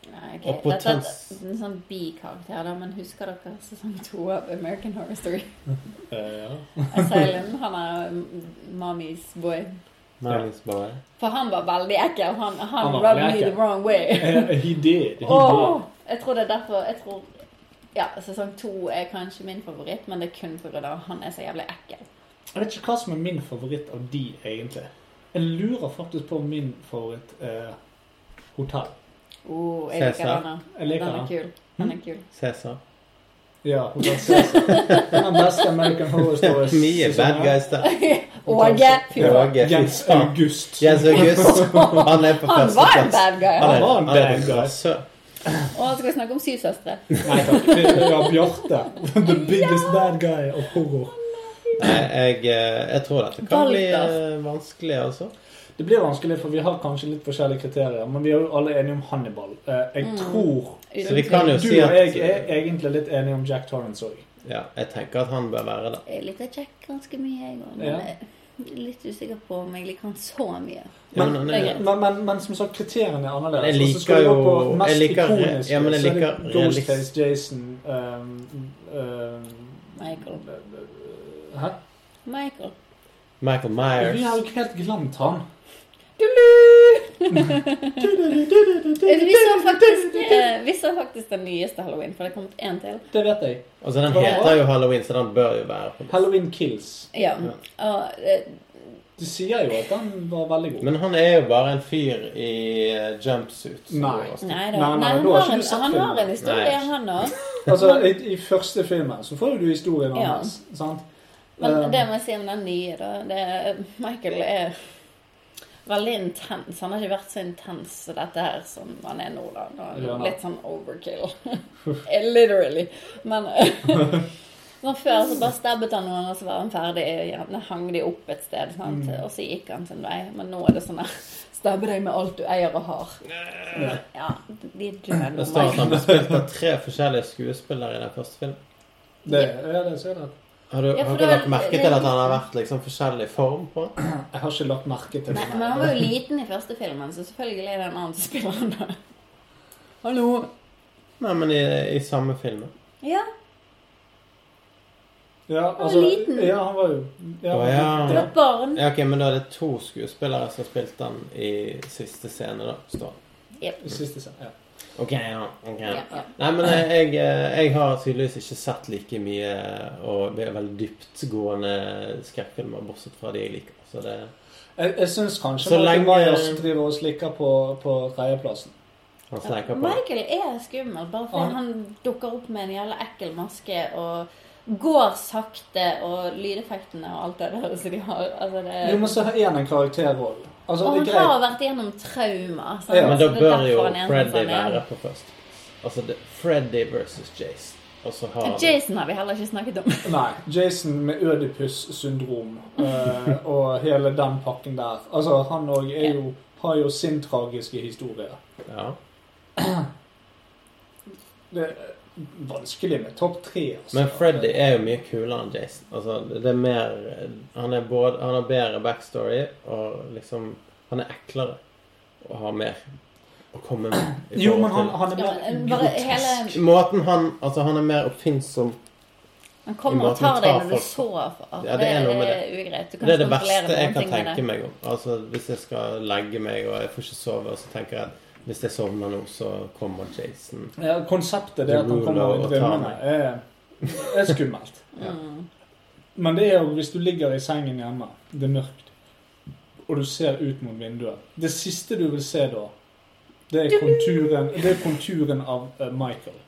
Nei, ok.
Og
Dette er
potens-
en sånn bikarakter, da, men husker dere sesong to av American Horror Story?
Eh, ja.
Asylum, han er mm, mommy's boy.
Marlins Boy.
For han var veldig ekkel. Han, han,
Han var
rubbed
veldig
me the
ekkel.
wrong way.
Eh, He did. He
Åh,
did.
jeg tror det er derfor jeg tror, Ja, sesong to er kanskje min favoritt, men det er kun pga. at han er så jævlig ekkel.
Jeg vet ikke hva som er min favoritt av de, egentlig. Jeg lurer faktisk på om min favoritt er Hotell.
Oh, jeg liker
Cæsar.
han. da.
Jeg liker
Han er
den.
kul.
Hm?
Han er kul.
Cæsar.
Ja, Hotell Cæsar. Den beste American Horror Stories.
[LAUGHS] Mye bad guys der.
Åge. fy
Ja.
faen.
Åge, fy
Jens
faen.
August.
Jens August.
[LAUGHS]
Han er på
Han var en
førsteplass.
bad guy.
Han
Han.
er,
var en
han er
bad
på
guy.
plass.
Og skal vi snakke om syv søstre?
Nei takk. Ja, Bjarte. The biggest bad guy of horror.
Nei, jeg, eh, jeg tror dette kan bli
Balder.
eh, vanskelig, altså.
Det blir vanskelig, for vi har kanskje litt forskjellige kriterier, men vi er jo alle enige om Hannibal. Eh, Jeg tror
Så vi kan jo
Du
si
og jeg
at
er egentlig litt enige om Jack Torrance òg.
Ja, jeg tenker at han bør være det.
Jeg liker Jack ganske mye, jeg òg. Men
Ja.
jeg er litt usikker på om jeg liker han så mye.
Ja, men han er,
jeg-
Men, men, men som sagt, kriteriene er annerledes.
Jeg
Og så skal
liker
vi gå på
jo-
mest
jeg liker-
ikoniske,
ja, men jeg
så er det
liker realist-
Ghostface Jason ehm, ehm,
Michael.
Hæ?
Michael.
Michael
Vi har jo
Myers.
ikke helt glemt han.
Eh, [LAUGHS] Vi så faktisk, eh, vi så faktisk den nyeste Halloween, for det er kommet én til.
Det vet jeg.
Altså, den heter jo Halloween, så den bør jo være på listen.
Halloween Kills.
Ja. Og, eh,
Du sier jo at den var veldig god.
Men han er jo bare en fyr i eh, jumpsuit. som
Nei.
går-
nei da.
Nei, nei,
Nei, han,
da har
har
ikke
en,
du sett
han har en
filmen.
historie,
Nei.
han òg.
Altså, i, I første filmen så får jo du historien
Ja.
hans. sant?
Men
Ehm,
det må jeg si om den nye, da det, er- Michael er veldig intens. Han har ikke vært så intens som dette her som han er nå, da. Nå er han Litt sånn overkill. [LAUGHS] Eh, Literally. Men [LAUGHS] sånn Før så bare stabbet han noen, og så var han ferdig. Gjerne hang de opp et sted, sant?
Mm.
og så gikk han sin vei. Men nå er det sånn her Stabbe deg med alt du eier og har. Så, Ja, de dør nå,
Det står at
Michael.
han sånn. ble spilt av tre forskjellige skuespillere i den første filmen.
det, ja, det ser jeg. det.
Har du,
Ja, for
har du
det er-
lagt merke til at han har vært liksom forskjellig form på han?
Jeg har ikke lagt merke til
Nei,
det.
men han var jo liten i første filmen, så selvfølgelig er det en annen som spiller han da. Hallo?
Nei, men i, i samme filmen.
Ja.
Ja,
var
altså,
liten.
Ja, han var jo ja,
Å, ja.
Det var barn.
Ja, ok, men da er det to skuespillere som har spilt den i siste scene, da. Står. det.
i Siste scenen. Ja.
Ok, ja, ok.
Ja, ja.
Nei, men jeg, jeg, eh, jeg har tydeligvis ikke sett like mye og det er veldig dyptgående skrekkfilmer, bortsett fra de jeg liker. Så det
Jeg, jeg syns kanskje
Så
Michael
lenge-
Myers driver og slikker på, på tredjeplassen.
han sleiker på.
Michael er skummel, bare
Han-
fordi han dukker opp med en jævla ekkel maske og går sakte, og lydeffektene og alt det der som de har altså det,
Du må så ha én en karakterrolle. Altså,
Og
det er
han har
greit.
vært gjennom trauma. sant?
Ja.
Men
Så
da
det er
bør
derfor
jo
han er sånn
Freddy
som han er.
være på først. Altså det, Freddy versus Jason. Og så har vi
Jason har vi heller ikke snakket om.
Nei. Jason med ødipus-syndrom eh,
[LAUGHS]
og hele den pakken der. Altså, han òg er jo har jo sin tragiske historie.
ja.
Det, vanskelig med topp tre. Altså.
Men Freddy er jo mye kulere enn Jason. Altså, det er mer Han, er både, han har bedre backstory, og liksom Han er eklere og har mer å komme med. i
Jo,
forhold
men han,
til-
han er
Ja,
mer
men bare
grotesk.
hele
Måten han Altså, han er mer oppfinnsom.
Han
I
kommer og
måten å
tar deg
ta
når du
folk på.
sover.
Ja, det er noe med
ugreit. Du kan
Det er det
ikke kontrollere
verste jeg kan
noen ting med
tenke meg om. Altså, Hvis jeg skal legge meg og jeg får ikke sove, og så tenker jeg at hvis jeg sovner nå, så kommer Jason.
Ja, konseptet det at han
Ruler
kommer
og
og
tar
drømmene
meg.
er, er skummelt.
Ja.
Men det er jo hvis du ligger i sengen hjemme, det er mørkt, og du ser ut mot vinduet. Det siste du vil se da, det er konturen, det er konturen av eh, Michael.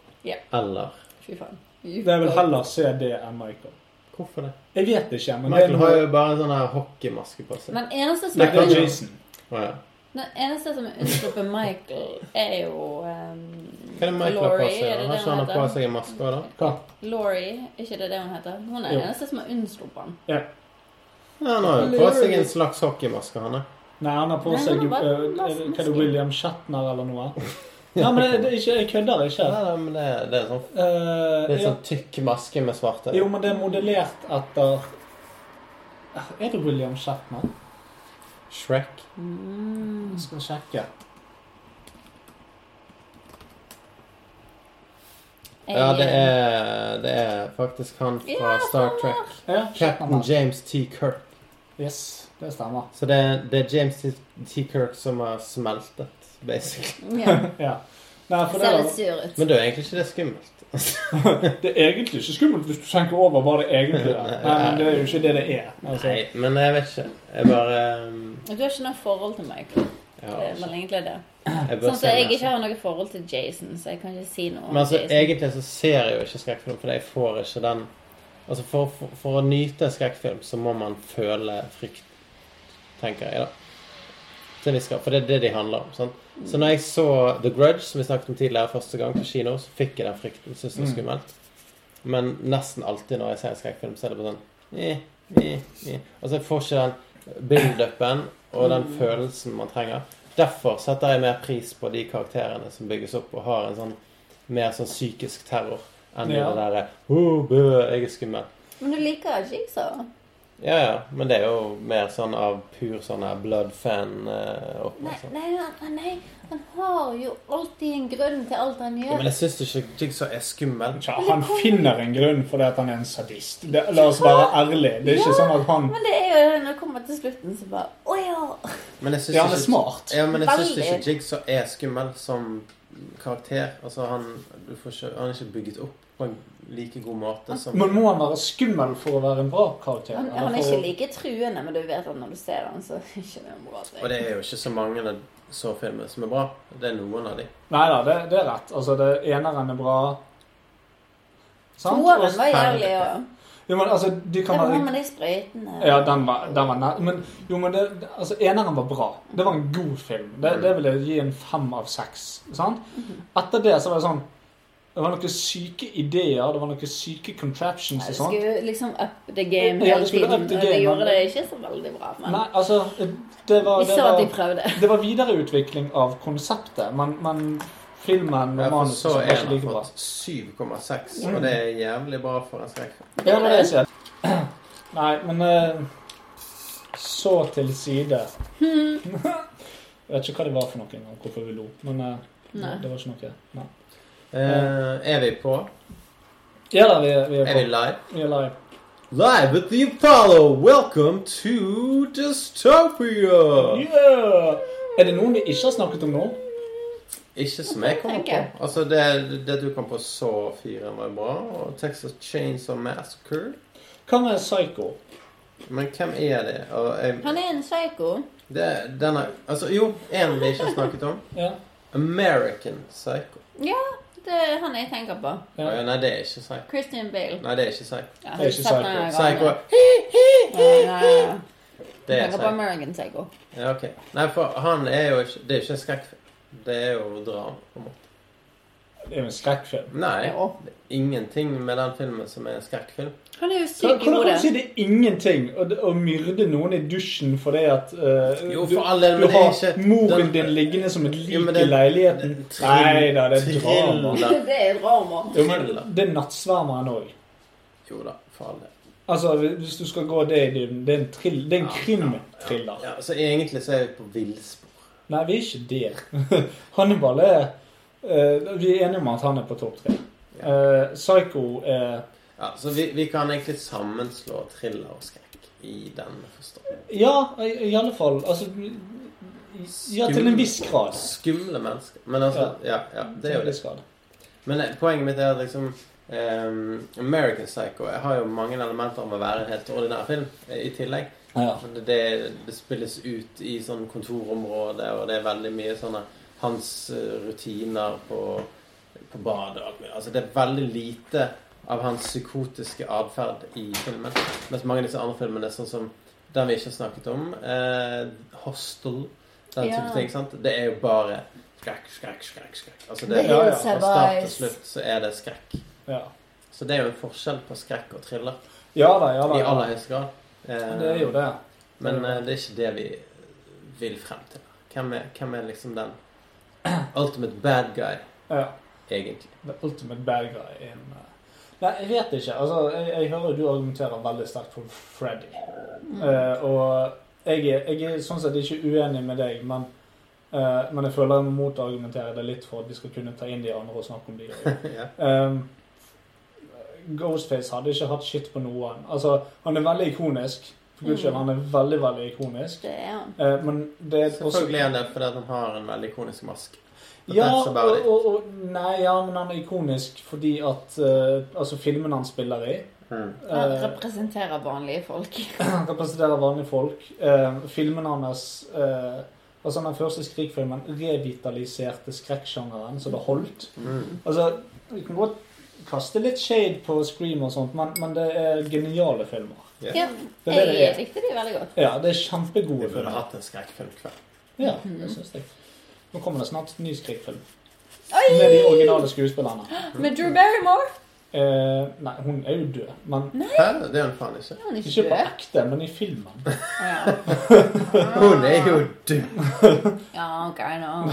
Eller
Fy faen.
Jeg vil heller se det enn Michael.
Hvorfor det?
Jeg vet ikke, men det er
Michael har
noe
jo bare en sånn her hockeymaske på seg.
Den eneste som
Det
er,
er
unn-
Jason.
Å, ja.
den eneste som er unnsluppet Michael, er jo um,
Hva er det Michael har på
Laurie,
seg? da?
er det
Har ikke
det hun
han på
heter?
seg en maske også, da?
Hva?
Laurie, er ikke det det hun heter? Hun er
Jo.
den eneste som har unnsluppet han.
Ja.
Ja, han har jo på seg en slags hockeymaske, han er.
Nei, han har på
Nei,
seg
han har bare
eh,
masse
er det- Hva er det,
masker.
William Shatner eller noe? Nei, men det, det er ikke, jeg kødder ikke.
Nei, nei, men det, det er sånn
Eh,
Det er
ja.
sånn tykk maske med svarte
Jo, men det er modellert etter Eh, Er det William Shatner?
Shrek. Mm.
Jeg skal sjekke.
Ja, det er, det er faktisk han fra
Ja,
Star [LAUGHS]
stemmer.
Trek.
Ja,
Captain
Shatner.
James T. Kirk.
Yes, det stemmer. [LAUGHS]
Så det er, det er James T. T. Kirk som har smeltet, basically.
ja.
Ja. Nei, for det,
Ser litt
er-
sur ut.
Men da er egentlig ikke det skummelt.
det er egentlig ikke skummelt hvis du tenker over hva det egentlig er.
Nei.
Nei, men det er jo ikke det det er. Altså,
Nei, men jeg vet ikke. Jeg bare um,
Du har ikke noe forhold til Michael.
Ja. altså.
Det er vel egentlig det.
Jeg bør
Sånn
se
at jeg
mer.
ikke har noe forhold til Jason, så jeg kan ikke si noe om
Men altså,
Jason.
egentlig så ser jeg jo ikke skrekkfilm, fordi jeg får ikke den Altså, for, for, for å nyte en skrekkfilm, så må man føle frykt, tenker jeg, da. Til en viss grad. For det er det de handler om. sant? Så når jeg så The Grudge, som vi snakket om tidligere, første gang på kino, så fikk jeg den frykten. Syns det var skummelt. Men nesten alltid når jeg ser en skrekkfilm, så er det bare sånn eh, eh, eh. Altså, jeg får ikke den build-upen og den følelsen man trenger. Derfor setter jeg mer pris på de karakterene som bygges opp og har en sånn mer sånn psykisk terror enn
Ja.
det derre oh, bø, jeg er skummel.
Men du liker ikke Jigsaw?
Ja, ja, men det er jo mer sånn av pur sånn her blood-fan eh, opp
Nei,
og sånn.
nei, han- nei, han har jo alltid en grunn til alt han
Ja,
gjør.
men jeg syns ikke Jigsaw er skummel.
tja, han finner en grunn for det at han er en sadist. Det, la oss være ærlige. Det er ikke
Ja,
sånn at han
Men det er jo når det kommer til slutten, så bare Å ja!
Men jeg syns
Ja, han er
ikke-
smart.
Ja, men jeg syns
Veldig.
ikke Jigsaw er skummel som karakter. Altså, han, du får ikke, han er ikke bygget opp på en like god måte som
Men må han være skummel for å være en bra karakter?
Han,
Eller
han er
for å-
ikke like truende, men du vet at når du ser han, så [LAUGHS] er det ikke noe bra. til.
Og det er jo ikke så mange av så filmer som er bra. Det er noen av de.
Nei da, det, det er rett. Altså, det eneren er bra. Sant?
Toeren
Og-
var jævlig, og
Jo, men altså, de
det
kan
var
være
med de sprøytene.
Ja, den var, den var nær. Men, jo, men det, det- altså, eneren var bra. Det var en god film.
Mm.
Det, det vil jeg gi en fem av seks. Sant?
Mhm.
Etter det så var det sånn Det var noen syke ideer, det var noen syke contraptions
Ja,
og
Du
sånt.
skulle liksom up the game
Ja,
hele
du skulle
tiden,
up
og
the
det
game,
gjorde
men-
det ikke så veldig bra. Men
Nei, altså Det var,
vi
det
så at de
var,
prøvde.
det var videreutvikling av konseptet, men, men filmen og
Jeg får
manuset
så
var
en
ikke
har
like bra.
fått 7,6, og det er jævlig bra for en skrekkfilm.
Ja, det var det jeg sier. [CLEARS THROAT] Nei, men eh, Så til side. Hmm. [LAUGHS] Jeg vet ikke hva det var for noe engang, hvorfor vi lo. Men eh,
Nei.
det var ikke noe. Nei.
Eh, er vi på?
Ja da, vi, vi er
Er vi
på.
live?
Vi er live.
Live at the Apollo! Welcome to Dystopia!
Yeah! Er det noen vi ikke har snakket om nå?
Ikke som jeg kommer på.
Ok.
Altså, det, det du kom på, så fire var bra. Og Texas Chains og Massacre.
Hva med Psycho?
Men hvem er det? Og jeg,
Han er en psycho.
det denne, altså, jo, en vi ikke har snakket om.
Ja.
American Psycho.
Ja, det er han jeg tenker på.
ja.
Nei, det er ikke Psycho.
Christian Bale.
Nei, det er ikke Psycho.
Ja,
Det er ikke
satt
psycho.
den her
Psycho
[LAUGHS]
gangen. Ja, ja, ja.
Det er
tenker på
Psycho.
American Psycho.
Ja, ok. Nei, for han er jo ikke Det er ikke en skrekkfilm. Det er jo drama, på en måte.
Det er jo en skrekkfilm.
Nei.
Jo.
Ingenting med den filmen som er en skrekkfilm.
Han er jo
Så
syk i
Hvordan kan du si
hodet.
det er ingenting å, å myrde noen i dusjen fordi at eh,
Jo,
du,
for all del, men
du
det er
har
ikke-
moren
den-
din liggende som et lik
Jo, men det-
i leiligheten?
Trill-
Nei da, det er drama.
Triller.
[LAUGHS] Det er drama.
Jo, men det er nattsvermeren òg.
Jo da, for all del.
Altså, hvis du skal gå det i dybden Det er en, trill, det er en krimthriller.
Ja, så egentlig så er vi på villspor.
Nei, vi er ikke der. [LAUGHS] Hannibal er eh, Vi er enige om at han er på topp tre. Eh, Psycho er
Ja, så vi, vi kan egentlig sammenslå thriller og skrekk i den forstand.
Ja, i, i alle fall. Altså Ja, til en viss grad.
Skumle mennesker. Men altså, ja, ja det er jo det.
Skade.
Men eh, poenget mitt er at liksom eh, American Psycho har jo mange elementer om å være en helt ordinær film eh, i tillegg.
Ja.
Det, det, det spilles ut i sånn kontorområde, og det er veldig mye sånne hans eh, rutiner på, på badet og alt mulig. Altså, det er veldig lite av hans psykotiske atferd i filmen. Mens mange av disse andre filmene, sånn som den vi ikke har snakket om, eh, Hostel, den
Ja.
type ting, sant? det er jo bare skrekk, skrekk, skrekk. skrekk. Altså, det,
The
Ja, ja.
Hills
fra
Have
start til
Eyes.
slutt så er det skrekk.
Ja.
Så det er jo en forskjell på skrekk og thriller
ja da, ja da.
i aller høyeste grad. Eh,
Det er jo det.
Men eh, det er ikke det vi vil frem til. Hvem er, hvem er liksom den [CLEARS THROAT] ultimate bad guy,
Ja.
egentlig?
The ultimate bad guy in eh, Nei, jeg vet ikke. Altså, jeg, jeg hører du argumenterer veldig sterkt for Freddy.
Mm.
Eh, og jeg er, jeg er sånn sett ikke uenig med deg, men, eh, men jeg føler jeg må motargumentere det litt for at vi skal kunne ta inn de andre og snakke om de.
[LAUGHS]
også.
[LAUGHS] ja.
Ehm, Ghostface hadde ikke hatt shit på noen. Altså, han er veldig ikonisk. For guds
Mm.
skyld, han er veldig, veldig ikonisk.
Det er han.
Eh, men det er også
Selvfølgelig er han det fordi at han har en veldig ikonisk maske. But
ja,
that's about
og,
it.
og, og, nei, ja, men han er ikonisk fordi at eh, Altså, filmen han spiller i
Mm.
Han
eh,
representerer vanlige folk.
Han [CLEARS THROAT] representerer vanlige folk. Eh, filmen hans eh, Altså, den første Skrik-filmen revitaliserte skrekksjangeren, så det holdt.
Mm.
Altså, vi kan godt kaste litt shade på Scream og sånt, men, men det er geniale filmer.
Ja.
Ja,
Det er det det
jeg
er.
likte de veldig godt.
Ja, det er
Vi
kjempegode
burde
filmer.
hatt en skrekkfilmkveld.
Ja, det synes jeg. Nå kommer det snart ny skrekkfilm.
Oi!
Med de originale skuespillerne.
Med Drew Barrymore.
Eh, nei, hun er jo død. Men
Hæ? Det er hun faen ikke.
Han er ikke
ikke på
død.
ekte, men i filmen.
Ja.
Hun er jo død.
ja, ok, nå.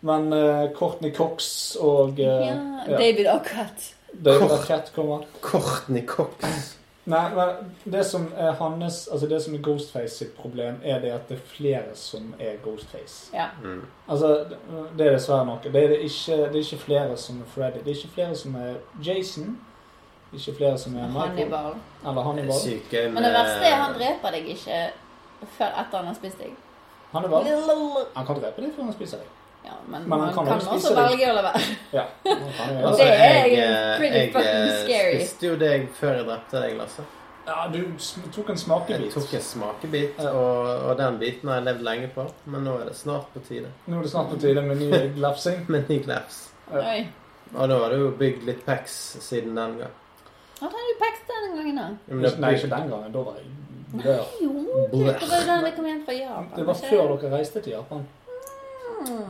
Men eh, Courtney Cox og eh,
Ja,
ja,
David Arquette.
David Arquette kommer.
Courtney Cox.
Nei, men det som er hans, altså det som er Ghostface sitt problem, er det at det er flere som er Ghostface.
Ja.
Mm.
Altså, det er dessverre noe. Det er, det ikke, det er ikke flere som er Freddy. Det er ikke flere som er Jason. Det er ikke flere som er Michael.
Hannibal.
Eller Hannibal.
Syke med
Men det verste
eh,
er han dreper deg ikke før etter han har spist deg.
Hannibal. Han kan drepe deg før han spiser [LAUGHS] deg.
Ja, men,
Men han
man
kan
kan,
også
også
spise deg.
velge å la være.
Ja. han kan gjøre
Altså,
det.
Det er
jeg,
pretty
jeg,
fucking
jeg
scary.
spiste jo deg før jeg drepte deg, Lasse.
ja, du sm- tok en
Jeg
smakebit.
tok en smakebit, og, og den biten har jeg levd lenge på. Men nå er det snart på tide
Nå er det snart på tide med ny
[LAUGHS]
glefsing.
med ny glaps.
Ja.
Oi.
Og da har du jo bygd litt packs siden den gang.
Han hadde jo peks denne gangen, da.
Ja, men det er
Nei, ikke
bygd-
den gangen. Da var jeg dør.
Jo, det var den vi kom hjem fra Japan. Hmm.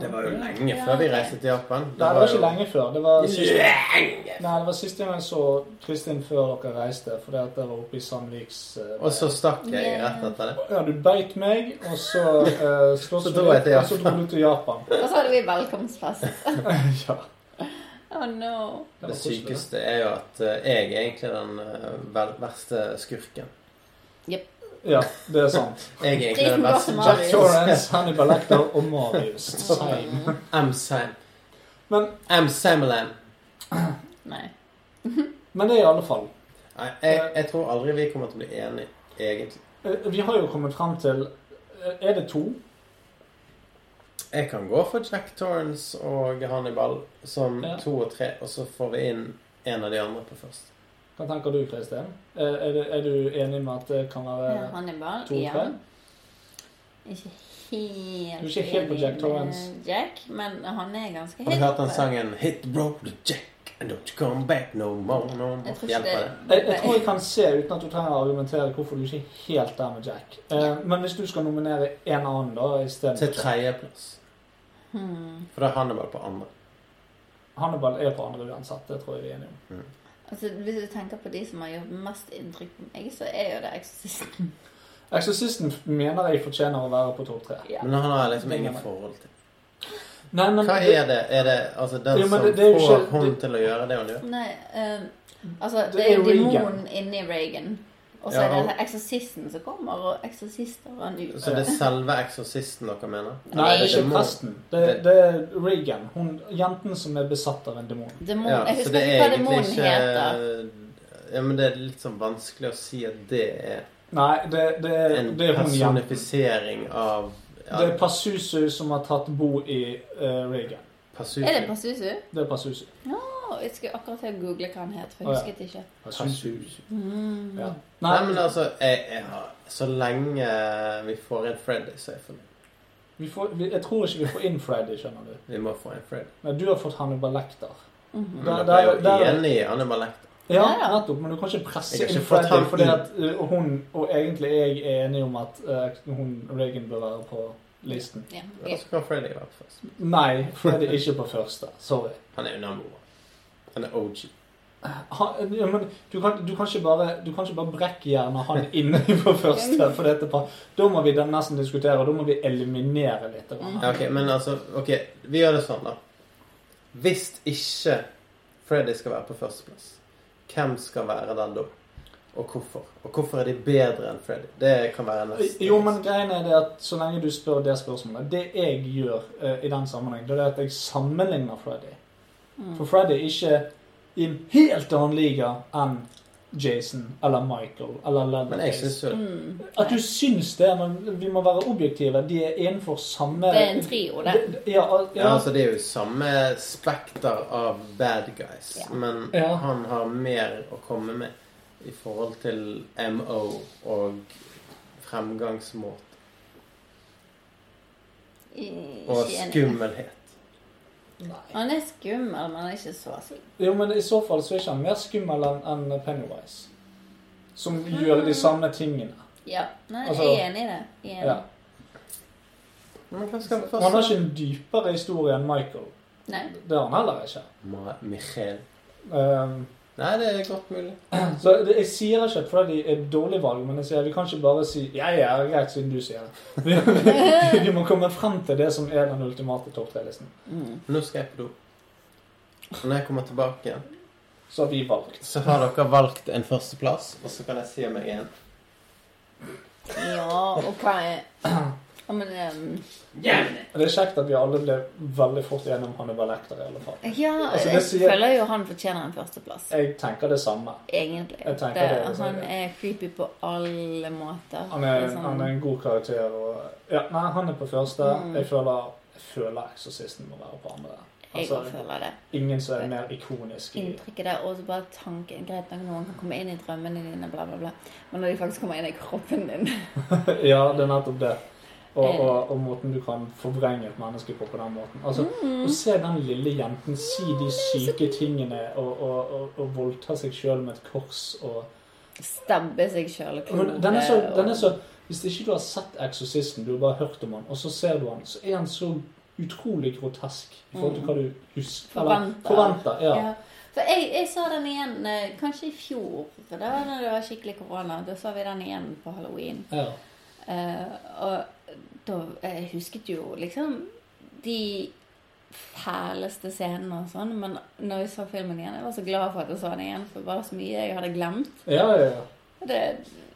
Det var
ikke
det
før dere reiste til Japan.
var jo lenge
Ja,
før vi
det-
reiste til Japan.
Nei, det var ikke lenge før. Det var siste,
lenge.
nei, det var siste gang jeg så Kristin før dere reiste, fordi at jeg var oppe i Sandviks eh,
Og så stakk jeg rett etter det.
Ja, du beit meg, og så uh,
Så
slåss vi
da var jeg
litt,
til
og så dro du til
[LAUGHS]
Japan.
Og så hadde vi velkomstfest.
ja.
Oh no.
var
Det
koselig,
sykeste er jo at eh, jeg er egentlig den eh, vel- verste skurken.
Ja, det er
[LAUGHS]
sant.
Jeg er egentlig den
Driten var
verste
som
Jack
Marius.
Torrance, Hannibal Lecter og Marius. Same.
M-Sam.
Men-
M-Samalam.
Nei.
Men det er i alle fall.
Nei, jeg, jeg tror aldri vi kommer til å bli enige, egentlig.
Eh, Vi har jo kommet frem til eh, Er det to?
Jeg kan gå for Jack Torrance og Hannibal som
Ja.
to og tre, og så får vi inn en av de andre på først.
Hva tenker du, Kristin? Eh, Er, det- er du enig med at det kan være
Ja, Hannibal
to og tre?
igjen. Ikke helt
Du er ikke helt på
enig
Jack
med
Torrance.
Jack, men han er ganske
Har du
helt
hørt den
oppe.
sangen 'Hit the road to Jack and don't you come back no more'? No more.
Jeg tror ikke
Hjelper
det.
det?
Jeg, jeg tror jeg kan se, uten at du trenger å argumentere, hvorfor du ikke er helt der med Jack. Eh, Men hvis du skal nominere en annen, da, i stedet
Til tredjeplass.
Hmm.
For da er Hannibal på andre.
Hannibal er på andre uansett, det tror jeg vi er enige om.
Altså, hvis du tenker på de som har gjort mest inntrykk på meg, så er jo det Eksorsisten.
Eksorsisten mener jeg fortjener å være på topp tre.
Ja.
Men han har jeg liksom ingen forhold til.
Nei, men
Hva er det? Er det altså den
Jo, men
som
det- det er jo
får
ikke-
hånd
det-
til å gjøre det hun gjør?
Nei, eh, altså
Det
Det
er
er
jo Reagan.
demonen inni Reagan. Og så
Ja,
er det
og-
eksorsisten som kommer, og eksorsisteren ut.
Så det er selve eksorsisten dere mener?
Nei,
det er
ikke
demon.
presten. Det, det er Reagan. Hun, jenten som er besatt av en demon.
Demon,
Ja,
jeg
så
husker
det
ikke
er
hva
egentlig
demonen
ikke
heter.
Ja, men det er litt sånn vanskelig å si at det er
Nei, det, det,
en
det er hun jenten.
personifisering av ja,
Det er Passusu som har tatt bo i eh, Reagan.
Pazuzu.
Er det Passusu?
Det er Passusu.
Å, jeg skulle akkurat til å google hva han het, for
Å,
jeg
ja.
husket ikke.
Pazuzu.
Mm.
Ja.
Nei, men altså jeg, jeg har, Så lenge vi får en Freddy, så er jeg fornøyd.
Vi får, vi, jeg tror ikke vi får inn Freddy, skjønner du.
Vi må få en Freddy.
Men du har fått Hannibal Lecter.
Mhm.
Men
Der-
dere er
der- der-
jo enig i Hannibal Lecter.
Ja,
Ja, ja.
nettopp, men du kan ikke presse
Jeg har
inn
ikke fått
Freddy,
han
fordi
inn.
at eh, hun og egentlig jeg er enige om at eh, hun Reagan bør være på listen.
Ja,
Ja,
ok.
Så kan Freddy være på først.
Nei, Freddy er ikke på første. Sorry.
Han er jo number one. Han er OG.
Han, ja, men du kan, du, kan ikke bare, du kan ikke bare brekke hjernen han inne på første. For dette, par- da må vi den nesten diskutere, og da må vi eliminere litt. av han.
Ja, ok, Men altså Ok, vi gjør det sånn, da. Hvis ikke Freddy skal være på førsteplass, hvem skal være der da? Og hvorfor? Og hvorfor er de bedre enn Freddy? Det kan være neste.
Jo, men greien er det at så lenge du spør det spørsmålet Det jeg gjør eh, i den sammenheng, det er det at jeg sammenligner Freddy.
Mm.
For Freddy er ikke i en helt annen liga enn Jason eller Michael eller
men jeg
Leatherface.
syns jo
Mm.
At du syns det, men vi må være objektive. De er innenfor samme
Det er en trio, det.
Det- Ja, al-
Ja,
ja.
altså Det er jo samme spekter av bad guys,
Ja.
men
Ja.
han har mer å komme med i forhold til MO og fremgangsmåte
I-
og
ikke enig. Mm.
skummelhet. altså-
Nei.
Han er skummel, men han er ikke så skummel.
Jo, men i så fall så er ikke han mer skummel enn enn Pennywise. Som
Mm.
gjør de samme tingene.
Ja. Nei,
Altså-
jeg er enig i det. Jeg er enig.
Ja.
Men hva skal
Han har ikke en dypere historie enn Michael.
Nei.
Det har han heller ikke.
Ma Michael.
Ehm,
Nei, det er godt mulig.
så det, jeg sier ikke at Freddy er et dårlig valg, men jeg sier vi kan ikke bare si ja, ja, greit, siden du sier det. [LAUGHS] Vi, vi, vi må komme frem til det som er den ultimate topp tre-listen.
Nå skal jeg på do. Og når jeg kommer tilbake igjen,
Så har vi valgt.
så har dere valgt en førsteplass, og så kan jeg si om jeg er en.
Ja, og hva er ja, men, ehm,
Og Det er kjekt at vi alle ble veldig fort gjennom Hannibal Lecter, i alle fall.
Ja,
Altså, det
jeg
sier-
føler jo han fortjener en førsteplass.
Jeg tenker det samme.
Egentlig.
Jeg tenker
Det,
det, altså,
han
ja.
er creepy på alle måter.
Han er,
Liksom,
han er en god karakter. Og, ja, nei, han er på første.
Mm.
Jeg føler, jeg føler Eksorsisten må være på andre.
jeg
Altså,
også føler det.
ingen som er mer ikonisk i
Inntrykket der, og så bare tanken Greit nok, noen kan komme inn i drømmene dine, bla, bla, bla. Men når de faktisk kommer inn i kroppen din [LAUGHS]
Ja, det er nettopp det. Og, og, og måten du kan forvrenge et menneske på på den måten. Altså, Å se den lille jenten si de syke tingene og, og, og, og voldta seg sjøl med et kors og
Stabbe seg sjøl
Men den er så, den er så Hvis ikke du har sett Exorcisten, du har bare hørt om han, og så ser du han, så er han så utrolig grotesk i forhold til hva du husker. Eller
Forventer.
forventer. Ja.
Ja. For jeg, jeg så den igjen eh, kanskje i fjor. Da var det, det var skikkelig korona. Da så vi den igjen på halloween.
Ja.
Eh, og da jeg husket jo liksom de fæleste scenene og sånn, men når jeg så filmen igjen Jeg var så glad for at jeg så den igjen, for det var så mye jeg hadde glemt.
Ja, ja, ja.
Det,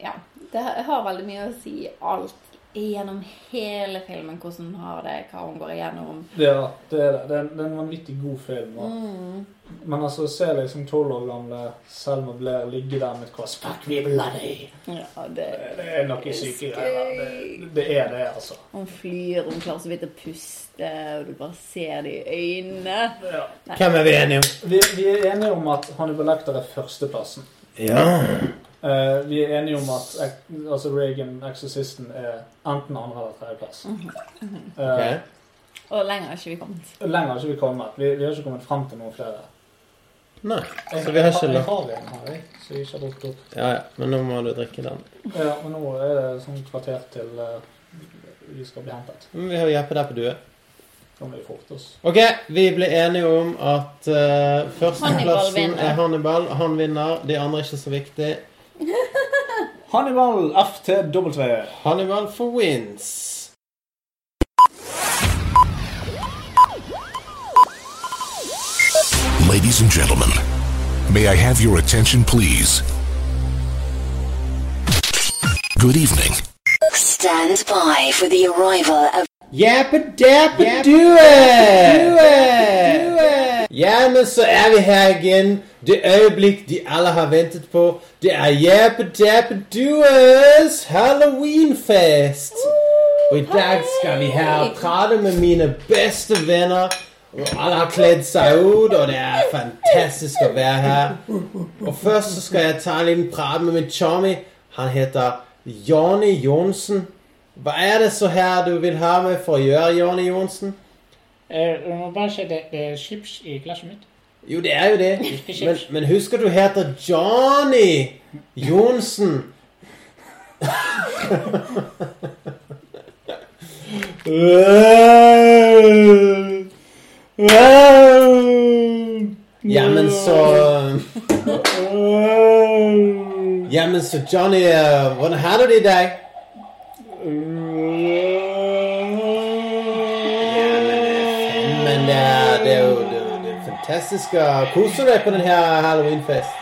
ja, det har veldig mye å si alt gjennom hele filmen, hvordan hun har det, hva hun går igjennom.
Det er det. Det er, det. Det er, en, det er en vanvittig god film. Og, Men altså, å se deg som tolv år gamle Selma Blair ligge der med et kors Fuck me bloody!
Ja, det,
Det er noe syke greier. Det, det er det, altså.
Hun flyr, hun klarer så vidt å puste, og du bare ser det i øynene.
Ja.
Hvem er vi enige om?
Vi, vi er enige om at Hannibal Lecter er førsteplassen.
Ja.
Eh, vi er enige om at ek- altså Reagan, eksorsisten, er enten andre- eller tredjeplass. Eh,
Ok.
Og lenger har ikke vi kommet.
Lenger har ikke vi kommet. Vi, vi har ikke kommet frem til noen flere.
Nei, så vi har ikke
Jeg
lagt
har en her, jeg, så jeg ikke har brukt opp.
Ja, ja, men nå må du drikke den.
Ja, men nå er det sånn kvarter til eh, vi skal bli hentet.
Men vi har Jeppe der på due.
kan vi forte oss.
Ok, vi ble enige om at eh,
Hannibal
førsteplassen
vinner.
er Hannibal. Han vinner. De andre er ikke så viktig.
Hannibal FTW.
Hannibal for wins.
Ladies and gentlemen, may I have your attention, please? Good evening.
Stand by for the arrival of
Jappa dappa do it! Ja, men så er vi her igjen. Det øyeblikk de alle har ventet på. Det er Jappa dappa does halloweenfest. Og i dag skal vi her og prate med mine beste venner. Og alle har kledd seg ut, og det er fantastisk å være her. Og først så skal jeg ta en liten prat med min chummy. Han heter Jonny Johnsen. Hva er det så her du vil ha meg for å gjøre, Jonny Johnsen?
Eh, Du må bare se, det, det er chips i glasset mitt.
Jo, det er jo det. Men, men husker du heter Johnny Johnsen? Ja, men så Ja, men så Johnny, eh, hvordan har du det i dag? Men det er, det er jo det, det er fantastisk å kose deg på denne halloweenfest.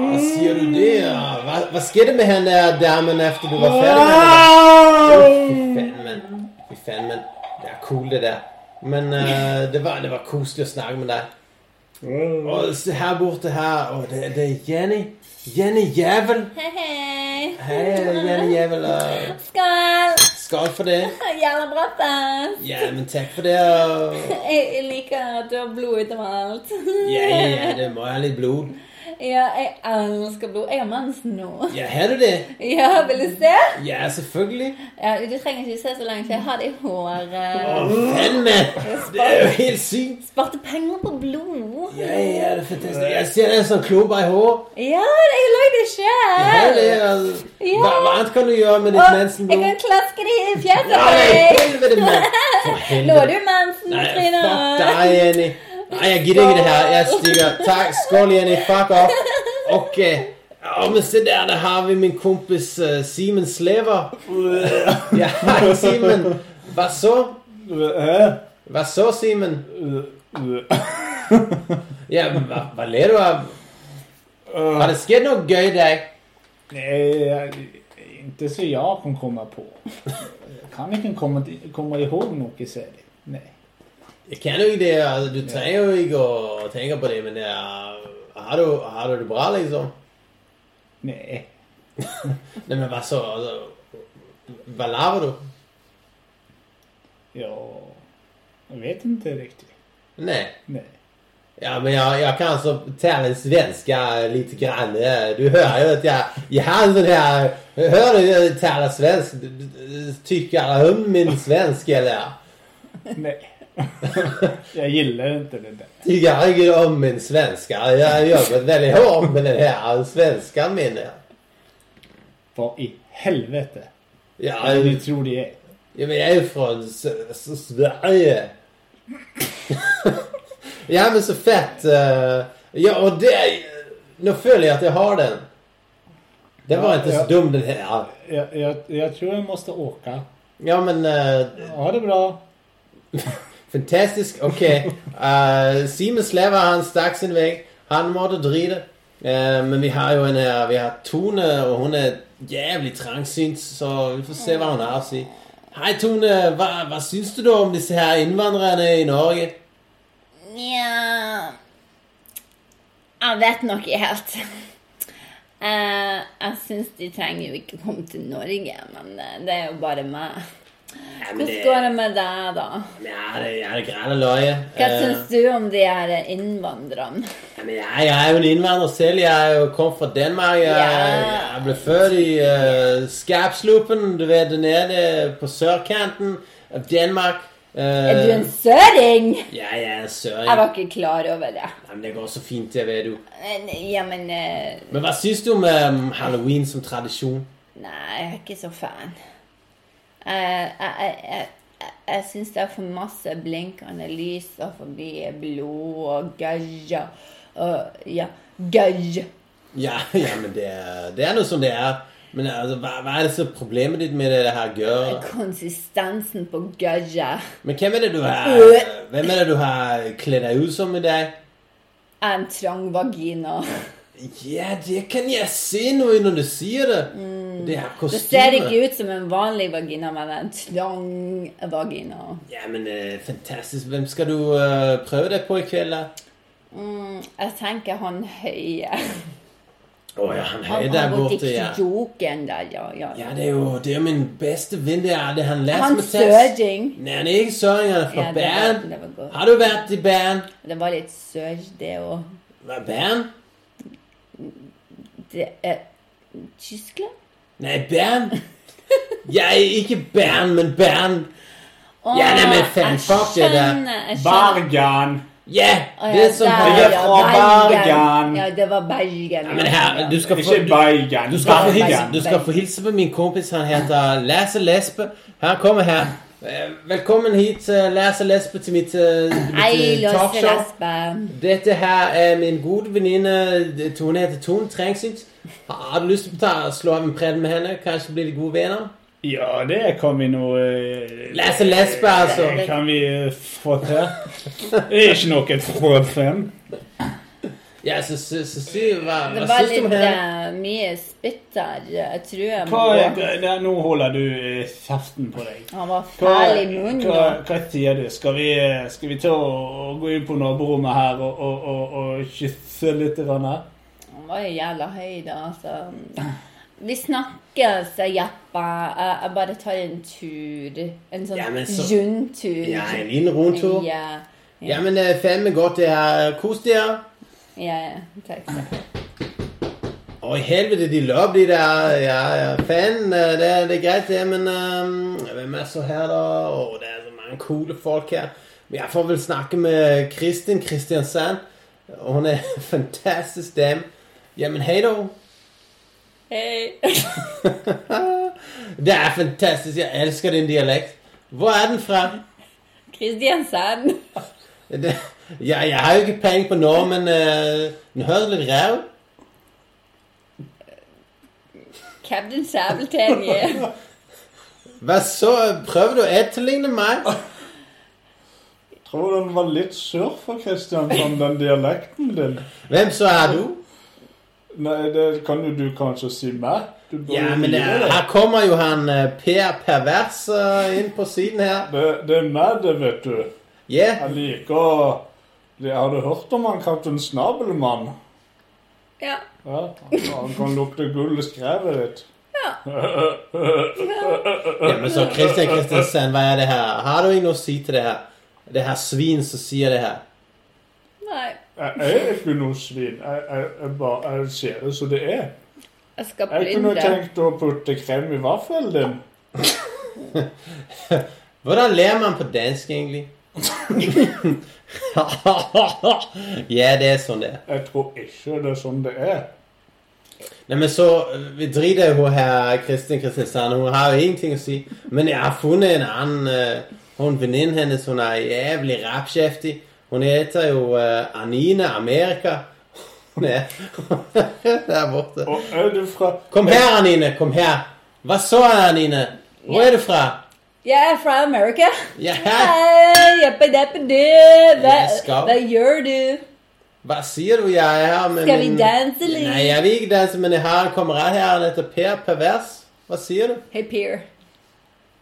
Hva sier du det? ja? Hva, hva skjedde med henne der damen efter du var ferdig med henne? Jo, Fy faen, men. Fy faen, men. Det er cool det der. Men eh, det, var, det var koselig å snakke med deg. Og se her borte her, og det, det er Jenny. Jenny Jævel.
Hei, hei.
Hei, Jenny Jævel. og
Skål!
Skål for det.
Jævla bratt, ass.
Ja, men takk for det. og-
Jeg, jeg liker at du har blod utoveralt.
Ja, ja, det må ha litt blod.
Ja, jeg elsker blod. Jeg har mens nå.
Ja, har du det?
Ja, vil du se?
Ja, selvfølgelig.
Ja, du trenger ikke se så lenge, for jeg har det i håret.
Åh, Fandme! Det er jo helt sykt.
Sparte penger på blod.
Ja, ja, det er fantastisk. Jeg ser det er sånn klumper i hår.
Ja, jeg har lagd det
Ja,
sjøl.
det er, altså,
Ja.
hva, hva annet kan du gjøre med ditt
jeg
mensenblod?
kan klaske det i fjeset
Ja,
på deg.
helvete, men. For
Nå har
helvete.
du mensen,
Nei,
Trine.
fuck deg, Jenny. Nei, jeg gidder ikke det her. Jeg stiger. Takk. Skål, Jenny. Fuck off. Ok. Ja, men se der, der har vi min kompis eh, Simen Slever. Ja, hei, Simen. Hva så?
Eh,
Hva så, Simen? Ja, men hva, hva ler du av? Har det skjedd noe gøy i dag?
Nei, ikke så jeg kan komme på. Jeg kan ikke komme, til- komme ihåg noe særlig. Nei.
Jeg kan jo ikke det. Altså, du trenger jo ikke å tenke på det, men det er, har, du, har du det bra, liksom?
Nei.
Nei, men hva så? Altså, hva laver du?
Ja Jeg vet ikke riktig.
Nej.
Nei.
Ja, men jag, jag kan altså alltså tävla i svenska lite grann. Eh, Du hör ju att jag, jag har altså en sån här... Hör du jag tävlar svensk? Du- du- du Tycker om min svensk eller?
Nei. [LAUGHS] Jeg gillar ikke det der.
Tycker jag inte om min svenska? Jag har jobbat väldigt hårt med den här svenskan min.
Hva i helvete
Ja,
er det du
jag,
tror de er?
men jag är ju från S- S- Sverige. [LAUGHS] ja, men så fett. eh, Ja, och det... Nu följer jag att jag har den. Den var
Ja,
inte så
ja.
dum den här.
Jeg, jeg, jeg tror jeg måste åke.
Ja, men eh,
Ha det bra.
fantastisk. Ok. Eh, Simen Sleva han stakk sin vei. Han måtte drite. Eh, men vi har jo en her Vi har Tone, og hun er jævlig trangsynt, så vi får se hva hun har å si. Hei, Tone. Hva, hva syns du da om disse her innvandrerne i Norge?
Nja Jeg vet nok ikke helt. Eh, jeg syns de trenger jo ikke komme til Norge, men eh, det er jo bare meg. Hvordan går det med deg, da?
Ja, det ja, det er greit å løye.
Hva
Eh,
syns du om de her innvandrerne?
ja, men jeg, jeg er jo en innvandrer selv. Jeg er jo kom fra Danmark. Jeg,
Ja.
jeg ble født i uh, Skapslupen, du vet, nede på sørkanten av Danmark. Eh,
Er du en søring?
Ja, jeg er søring.
Jeg var ikke klar over det.
Nei, men det går så fint, det vet du.
Men, ja, men eh,
Men um, hva syns du om eh, halloween som tradisjon?
Nei, jeg er ikke så fan. Jeg, jeg, jeg, jeg, jeg syns det er for masse blinkende lys og forbi blod og gøy og Ja, gøy.
Ja, [LAUGHS] ja men det, det er noe som det er. Men altså, hva, hva er det som er problemet ditt med det her, girl?
Konsistensen på gøyet.
Men hvem er det du har
Øh.
Hvem er det du har kledd deg ut som i dag?
er En trang vagina.
Ja, det kan jeg se nå når du sier det. Det er
Mm. Det
kostyme.
ser ikke ut som en vanlig vagina, men en trang vagina.
Ja, men eh, fantastisk. Hvem skal du eh, prøve deg på i kveld? da?
Mm, jeg tenker han høye.
Å ja, han
Han
er
har
der
gått
borte,
i
ja.
kroken der, ja. ja.
Ja, det er jo, det er jo min beste venn. Det er det han lærer
Han
som er test.
søring.
Nei, han er ikke søring, han er fra
Ja, det var-
band.
det var godt.
Har du vært i band?
Det var litt surr, det òg.
Hva er band?
Det er Tyskland?
Nei,
[LAUGHS]
band. Jeg er ikke band, men band.
Åh,
Ja, nei, men faen,
jeg
fuck det der.
skjønner, jeg skjønner.
Bergen!
Ja,
Åh,
det
ja,
er som
der,
Vi er fra Bergen.
Ja, det var Bergen.
Ja, men her, du skal få...
Ikke Bergen.
Du skal, få hilse,
Bergen.
du skal få hilse på min kompis. Han heter Lasse Lesbe. Her, kommer her. Eh, Velkommen hit, eh, Lasse Lesbe, til mitt eh,
Hei,
mitt, eh,
Lasse
talkshow.
Lesbe.
Dette her er min gode venninne Tone heter Tone Trengsyt. Har du lyst til å ta, slå av en pred med henne? Kanskje blir de gode venner?
Ja, det kan vi nå eh,
Lasse Lesbe, altså.
Det kan vi eh, få til. Det er ikke noe problem.
Ja, så, så, så si hva,
Det
hva
var
syns du om
litt
henne?
eh, mye spytt der. Jeg tror jeg må
Hva er,
gå.
det- nå holder du eh, kjeften på deg.
Han var
Hva,
fæl i munnen.
hva,
nå.
hva sier du? Skal vi, eh, skal vi ta og, og gå inn på naborommet her og, og, og, og kysse litt? grann her?
Han var jo jævla høy, da. Så. Vi snakkes, jeg Jeppe. Jeg, jeg bare tar en tur. En sånn
Ja, men så-
rundtur.
Ja, en liten rundtur.
eh, Ja, ja,
Ja, men eh, fem er godt, det her. Kos dere.
ja, ja, takk.
Å, i helvete, de løp, de der. Ja, ja, fan, eh, det, det er greit, det, men eh, hvem er så her, da? Å, det er så mange coole folk her. Men Jeg får vel snakke med Kristin Kristiansand. Hun er [LAUGHS] en fantastisk dame. Ja, men hei, da.
[LAUGHS] Hei.
Det er fantastisk. Jeg elsker din dialekt. Hvor er den fra?
Kristiansand.
Det, ja, jeg har jo ikke peiling på noe, men eh, den høres litt ræv
Captain Sabeltann. ja.
Hva så? Prøver du å etterligne meg?
Tror den var litt skjør for Kristian, den dialekten din.
Hvem så er du?
Nei, det kan jo du kanskje si meg. Du bør
Ja,
jo
men det,
vite det.
her kommer jo han eh, Per Pervers eh, inn på siden her.
det, det er meg, det, vet du.
Ja,
Jeg liker å det, Har du hørt om han Kaptein Snabelmann?
Ja.
Ja, han kan lukte gull i skrevet ditt.
ja, men så Kristian Kristiansen, hva er det her? Har du ikke noe å si til det her? Det her svin som sier det her.
Nei.
Jeg er ikke noe svin. Jeg, jeg, jeg, bare, jeg ser det som det er.
Jeg skal
Jeg kunne
plyndre.
tenkt å putte krem i vaffelen din.
Hvordan ler man på dansk, egentlig? [LAUGHS] ja, det er sånn det er.
Jeg tror ikke det er sånn det er.
Nei, men så eh, Vi driter jo her Kristin Kristiansen. Hun har jo ingenting å si. Men jeg har funnet en annen eh, Hun venninnen hennes hun er jævlig rappkjeftig. Hun heter jo eh, Anine Amerika. Hun er [LAUGHS] der borte.
Og er du fra
Kom her, Anine. Kom her. Hva så, Anine? Hvor er du fra?
Jeg er fra America.
Ja, her.
Hei, jeppe, deppe, du. Hva,
Jeg skal.
hva gjør du?
Hva sier du? Jeg er her med
Skal vi
min-
danse litt?
Nei, jeg vil ikke danse, men jeg har en kamerat her. Han heter Per Pervers. Hva sier du?
Hei, Per.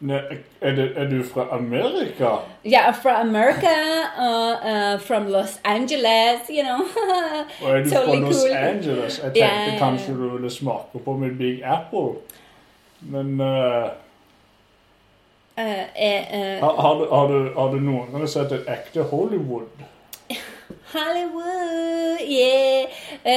Nei, er, det, er du fra Amerika?
Yeah, from America, uh, uh, from Los Angeles, you know. [LAUGHS]
Og er du
Totally
fra Los
cool.
Angeles? Jeg tenkte
Ja,
Eh.
ja, ja.
kanskje du ville smake på min Big Apple. [LAUGHS] Men eh,
Uh, uh, uh,
har, har, du, har, du, har du noen gang sett et ekte Hollywood?
[LAUGHS] Hollywood, yeah. Uh,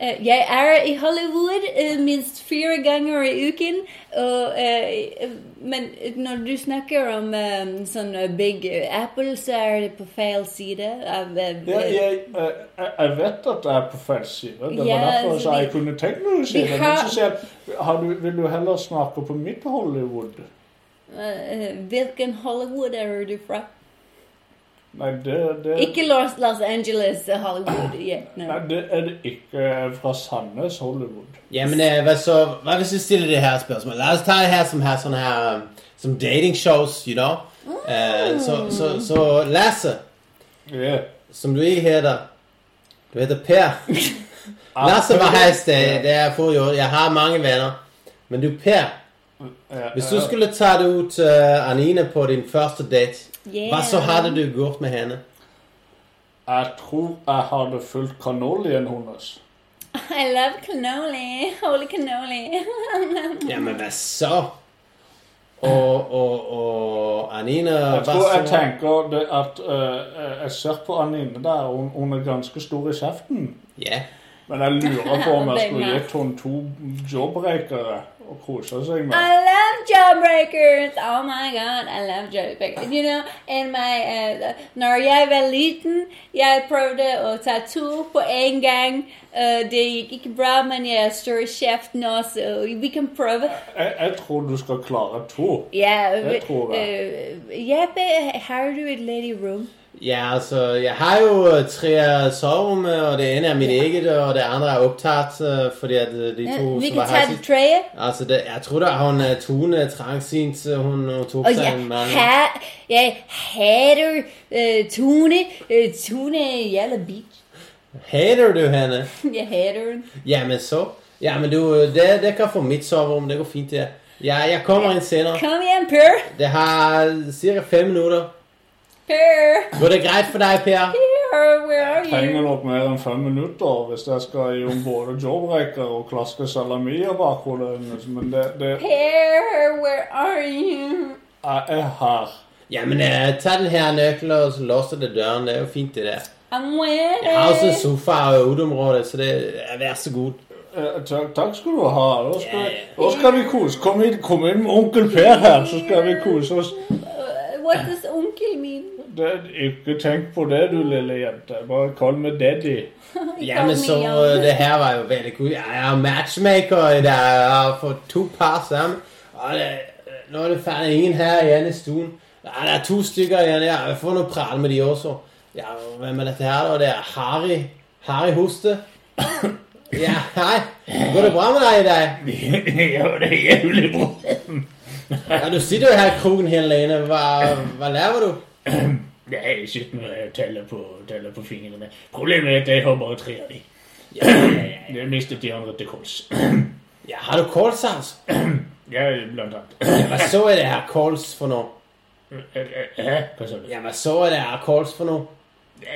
uh, jeg er i Hollywood uh, minst fire ganger i uken. Og, uh, uh, men når du snakker om um, sånn uh, Big Apple, så er det på feil side. av, uh,
Ja, jeg, jeg, jeg- jeg vet at jeg er på feil side. Det var
Ja,
derfor
så
så jeg
vi-
kunne tenkt meg å si
vi
det.
har-
Men så sier jeg, har du, vil du heller smake på mitt Hollywood?
Eh, Hvilken Hollywood er du fra?
Nei, det, det
Ikke Los, Los Angeles, eh, Hollywood. Yeah,
Nei,
no.
det er det ikke fra Sandnes Hollywood.
Ja, men eh, hva, så, hva hvis vi stiller det her spørsmålet? La oss ta det her som, her, sånn her um, Som dating shows, you know. Eh, så, så, så Lasse,
Yeah.
som du ikke heter Du heter Per.
Ah,
Lasse var heist det, det er forrige år. Jeg har mange venner. Men du, Per,
Ja,
hvis
ja.
du skulle ta det ut eh, Anine på din første date, hva
Yeah.
så hadde du gjort med henne?
Jeg tror jeg hadde fulgt kanolien hennes.
I love cannoli. [LAUGHS] Holy cannoli. [LAUGHS]
Ja, men hva så? Og, og, og Anine
Jeg
hva
tror jeg
så?
tenker det at eh, Jeg ser på Anine der, hun, hun er ganske stor i kjeften.
Ja.
Men jeg lurer på om jeg skulle
Denne.
gitt henne to jawbreakere og kosa seg med.
I love jawbreakers. Oh my god, I love jawbreakers. You know, in my uh, Når jeg var liten, jeg prøvde å ta to på en gang. Eh, det gikk ikke bra, men jeg er stor i kjeft nå, så vi kan prøve.
Jeg, jeg tror du skal klare to.
Ja,
Jeg tror det.
eh, Jeppe, har du et lady room?
Ja, altså, jeg har jo eh, tre soverom, eh, og det ene er mitt eget, og det andre er opptatt eh, fordi at eh, de to
vi
som
kan
var
ta
her
det
sist
tredje.
Altså, det, jeg tror da hun eh, Tone trangsynt eh, hun, hun tok
Og
seg
jeg,
en mann
Oh, ha, jeg hater eh, Tone. Eh, Tone er jævla bitch.
Hater du henne?
Jeg hater henne.
Ja, men så? Ja, men du, eh, det, det kan få mitt soverom. Det går fint, det. Ja, jeg kommer inn senere.
Kom igjen, Per.
Det har ca. fem minutter.
Per.
Går det greit for deg, Per?
Per, where are
trenger
you?
nok mer enn fem minutter hvis jeg skal gi om både jawbreaker og klaske salamier bak hodet hennes, men det, det
Per, where are you?
Jeg er her.
Ja, men eh, ta den her nøkkelen og så låser det døren. Det er jo fint, det der.
I'm Øh.
Jeg har også en
waiting.
sofa og uteområde, så det eh, vær så god.
Eh, Takk, takk skal du ha. Da skal,
Ja, ja.
da skal vi kose. Kom inn, kom inn med onkel Per her, så skal vi kose oss.
Uh, What does onkel mean?
Det, ikke tenk på det, du lille jente. Bare kall meg daddy.
He
Ja,
called
men
me
så
young.
eh, Det her var jo veldig god. Jeg er matchmaker i dag. Jeg har fått to par sammen. Og det, nå er det ferdig ingen her igjen i stuen. Nei, det er to stykker igjen. Ja, jeg får nå prate med de også. Ja, hvem er dette her, da? Det er Harry. Harry Hoste. Ja, hei. Går det bra med deg i dag?
ja, det er jævlig bra.
Ja, du sitter jo her i kroken hele inne. Hva, hva lærer du?
Det er ikke noe jeg teller på, teller på fingrene. Problemet er at jeg har bare tre av dem. [CLEARS THROAT] Jeg mistet de andre til kols. [CLEARS THROAT]
Ja, har du kolsans?
Ja, blant annet. [CLEARS THROAT] Eh,
Hva så er det her kols for noe?
Hæ? eh, Hva sa du? eh,
Ja, hva så er det her kols for noe?
Det,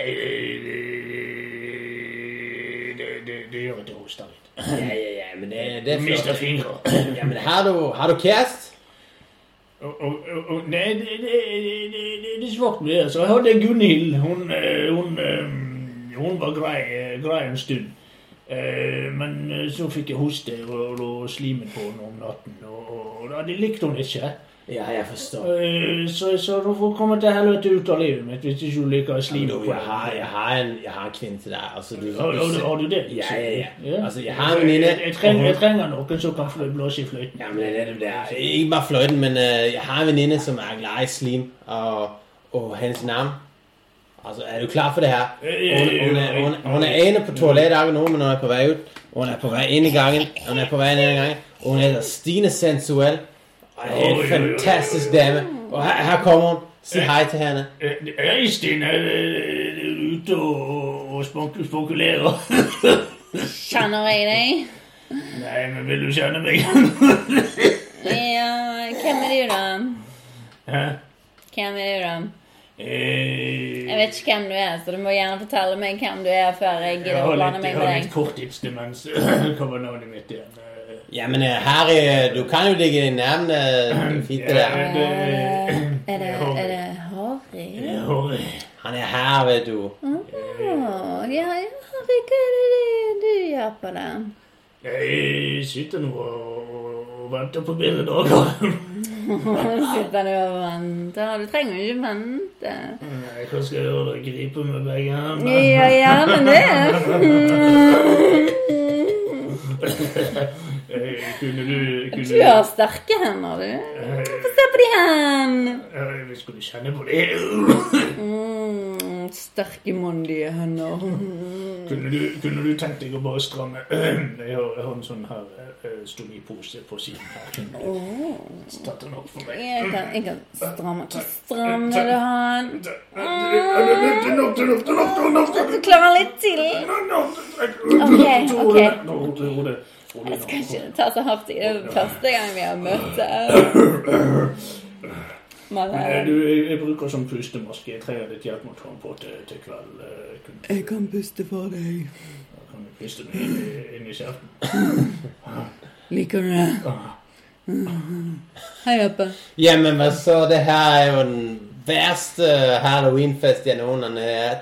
det, det gjør at jeg hoster litt.
Ja, ja, ja, men det, det er
Mister
flott.
fingre. [CLEARS THROAT]
Ja, men har du, har du kjæreste?
Og- og- og- og- Nei, det, det, det, det- det, det svart med det. Så jeg hadde Gunhild. Hun, eh, hun, eh, hun var grei, eh, grei en stund. Eh, Men eh, så fikk jeg hoste og lå slimet på henne om natten. Og, og, og da- det likte hun ikke.
Ja, jeg forstår.
Eh, Så, så du får komme til helvete ut av livet mitt hvis ikke du liker slimet
Du,
på
jeg, har,
deg.
jeg, har en, jeg har en kvinne til deg. Altså, du,
Har, har, du- har du det?
Ja, ja, ja.
Ja.
Altså, jeg har en venninne
Jeg, jeg, trenger, jeg trenger noen som kan flø- blåse i fløyten.
Ja, men det er nettopp det. Ikke bare fløyten, men øh, jeg har en veninde som er glad i slim. Og, og hennes navn Altså, er du klar for det her?
Øh,
Hun, hun, er, hun, hun er ene på toalettet akkurat nå, men hun er på vei ut. Hun er på vei inn i gangen. Hun er på vei inn i gangen. Og hun heter Stine Sensuell. Og er en fantastisk dame. Og her, her kommer hun. Si hei til henne.
Eh, Hei, Stine. eh, Er du ute og, og- og spank- spankulerer?
Kjenner jeg deg?
Nei, men vil du kjenne meg?
Ja, hvem er du, da?
Hæ?
Hvem er du, da? Jeg
Eh,
vet ikke hvem du er, så du må gjerne fortelle meg hvem du er før jeg
Jeg
gidder å
har
blande
litt, jeg har
meg med
litt
deg.
korttidsdemens. Hva var navnet mitt igjen? Eh,
Ja, men øh, Harry, øh, du kan jo ligge i navnet. øh, Det er fint, det der.
eh, det-
Eh, Er det, er det Harry?
jeg har- eh,
Han er her, vet du.
Åh, ja, ja, Harry, hva er det du- du gjør på den?
Jeg sitter nå og, og- og venter på bedre dager.
Sitter du og venter? Du trenger jo ikke vente.
Nei, Hva skal jeg gjøre? Gripe med begge hendene?
Ja, ja, men det
Eh,
Kunne du kunne,
Du har sterke hender, du. Få se på de hendene.
Eh, vi Skulle kjenne på det.
Mm, sterke, mandige hender.
Kunne du, kunne du tenkt deg å bare stramme Jeg har, jeg har en sånn her eh, stomipose på siden her. Kunne du tatt den opp for meg?
Jeg kan, jeg kan stramme Hvor stram vil du ha den? Mm.
Den opp, den opp, den opp, den opp, den
Du
opp.
klarer litt til. Ok, ok. Jeg skal ikke ta så hardt i det er første gang vi har møttes. Men
Eh,
eh,
Du, jeg, jeg bruker sånn pustemaske. Jeg trenger litt hjelp med å ta den på til, til kveld. eh, Kunne
Jeg kan puste for deg.
kan du puste meg inn i- inn i kjeften?
Liker du det? Mm. Hei, Jeppe.
Ja, men men så det her er jo den verste halloweenfest jeg noen gang har hatt.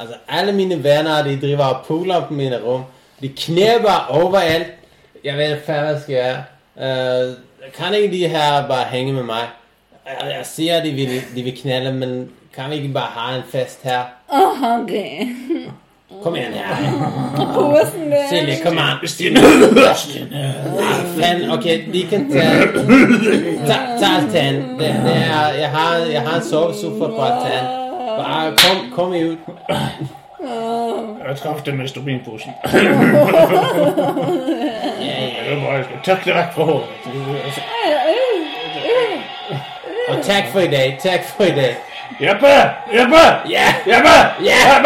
Altså, alle mine venner de driver og pooler på mine rom. De kneber overalt. Jeg vet ikke hva jeg skal gjøre. Eh, kan ikke de her bare henge med meg? Jeg, jeg sier de vil, de vil knele, men kan vi ikke bare ha en fest her?
Å, Harry.
Kom igjen her.
Posen din.
Silje, kom an. Men ok, de kan ta Ta, ta alt hen. Det, det er, jeg, har, jeg har en sovesofa på alt hen. Bare kom, kom ut.
Jeg traff det med
[LAUGHS]
stominposen.
Ja, ja.
Jeg bare skal tørke det vekk fra håret.
Og takk for i dag. Takk for i dag.
Jeppe! Jeppe!
Ja!
Jeppe!
Ja!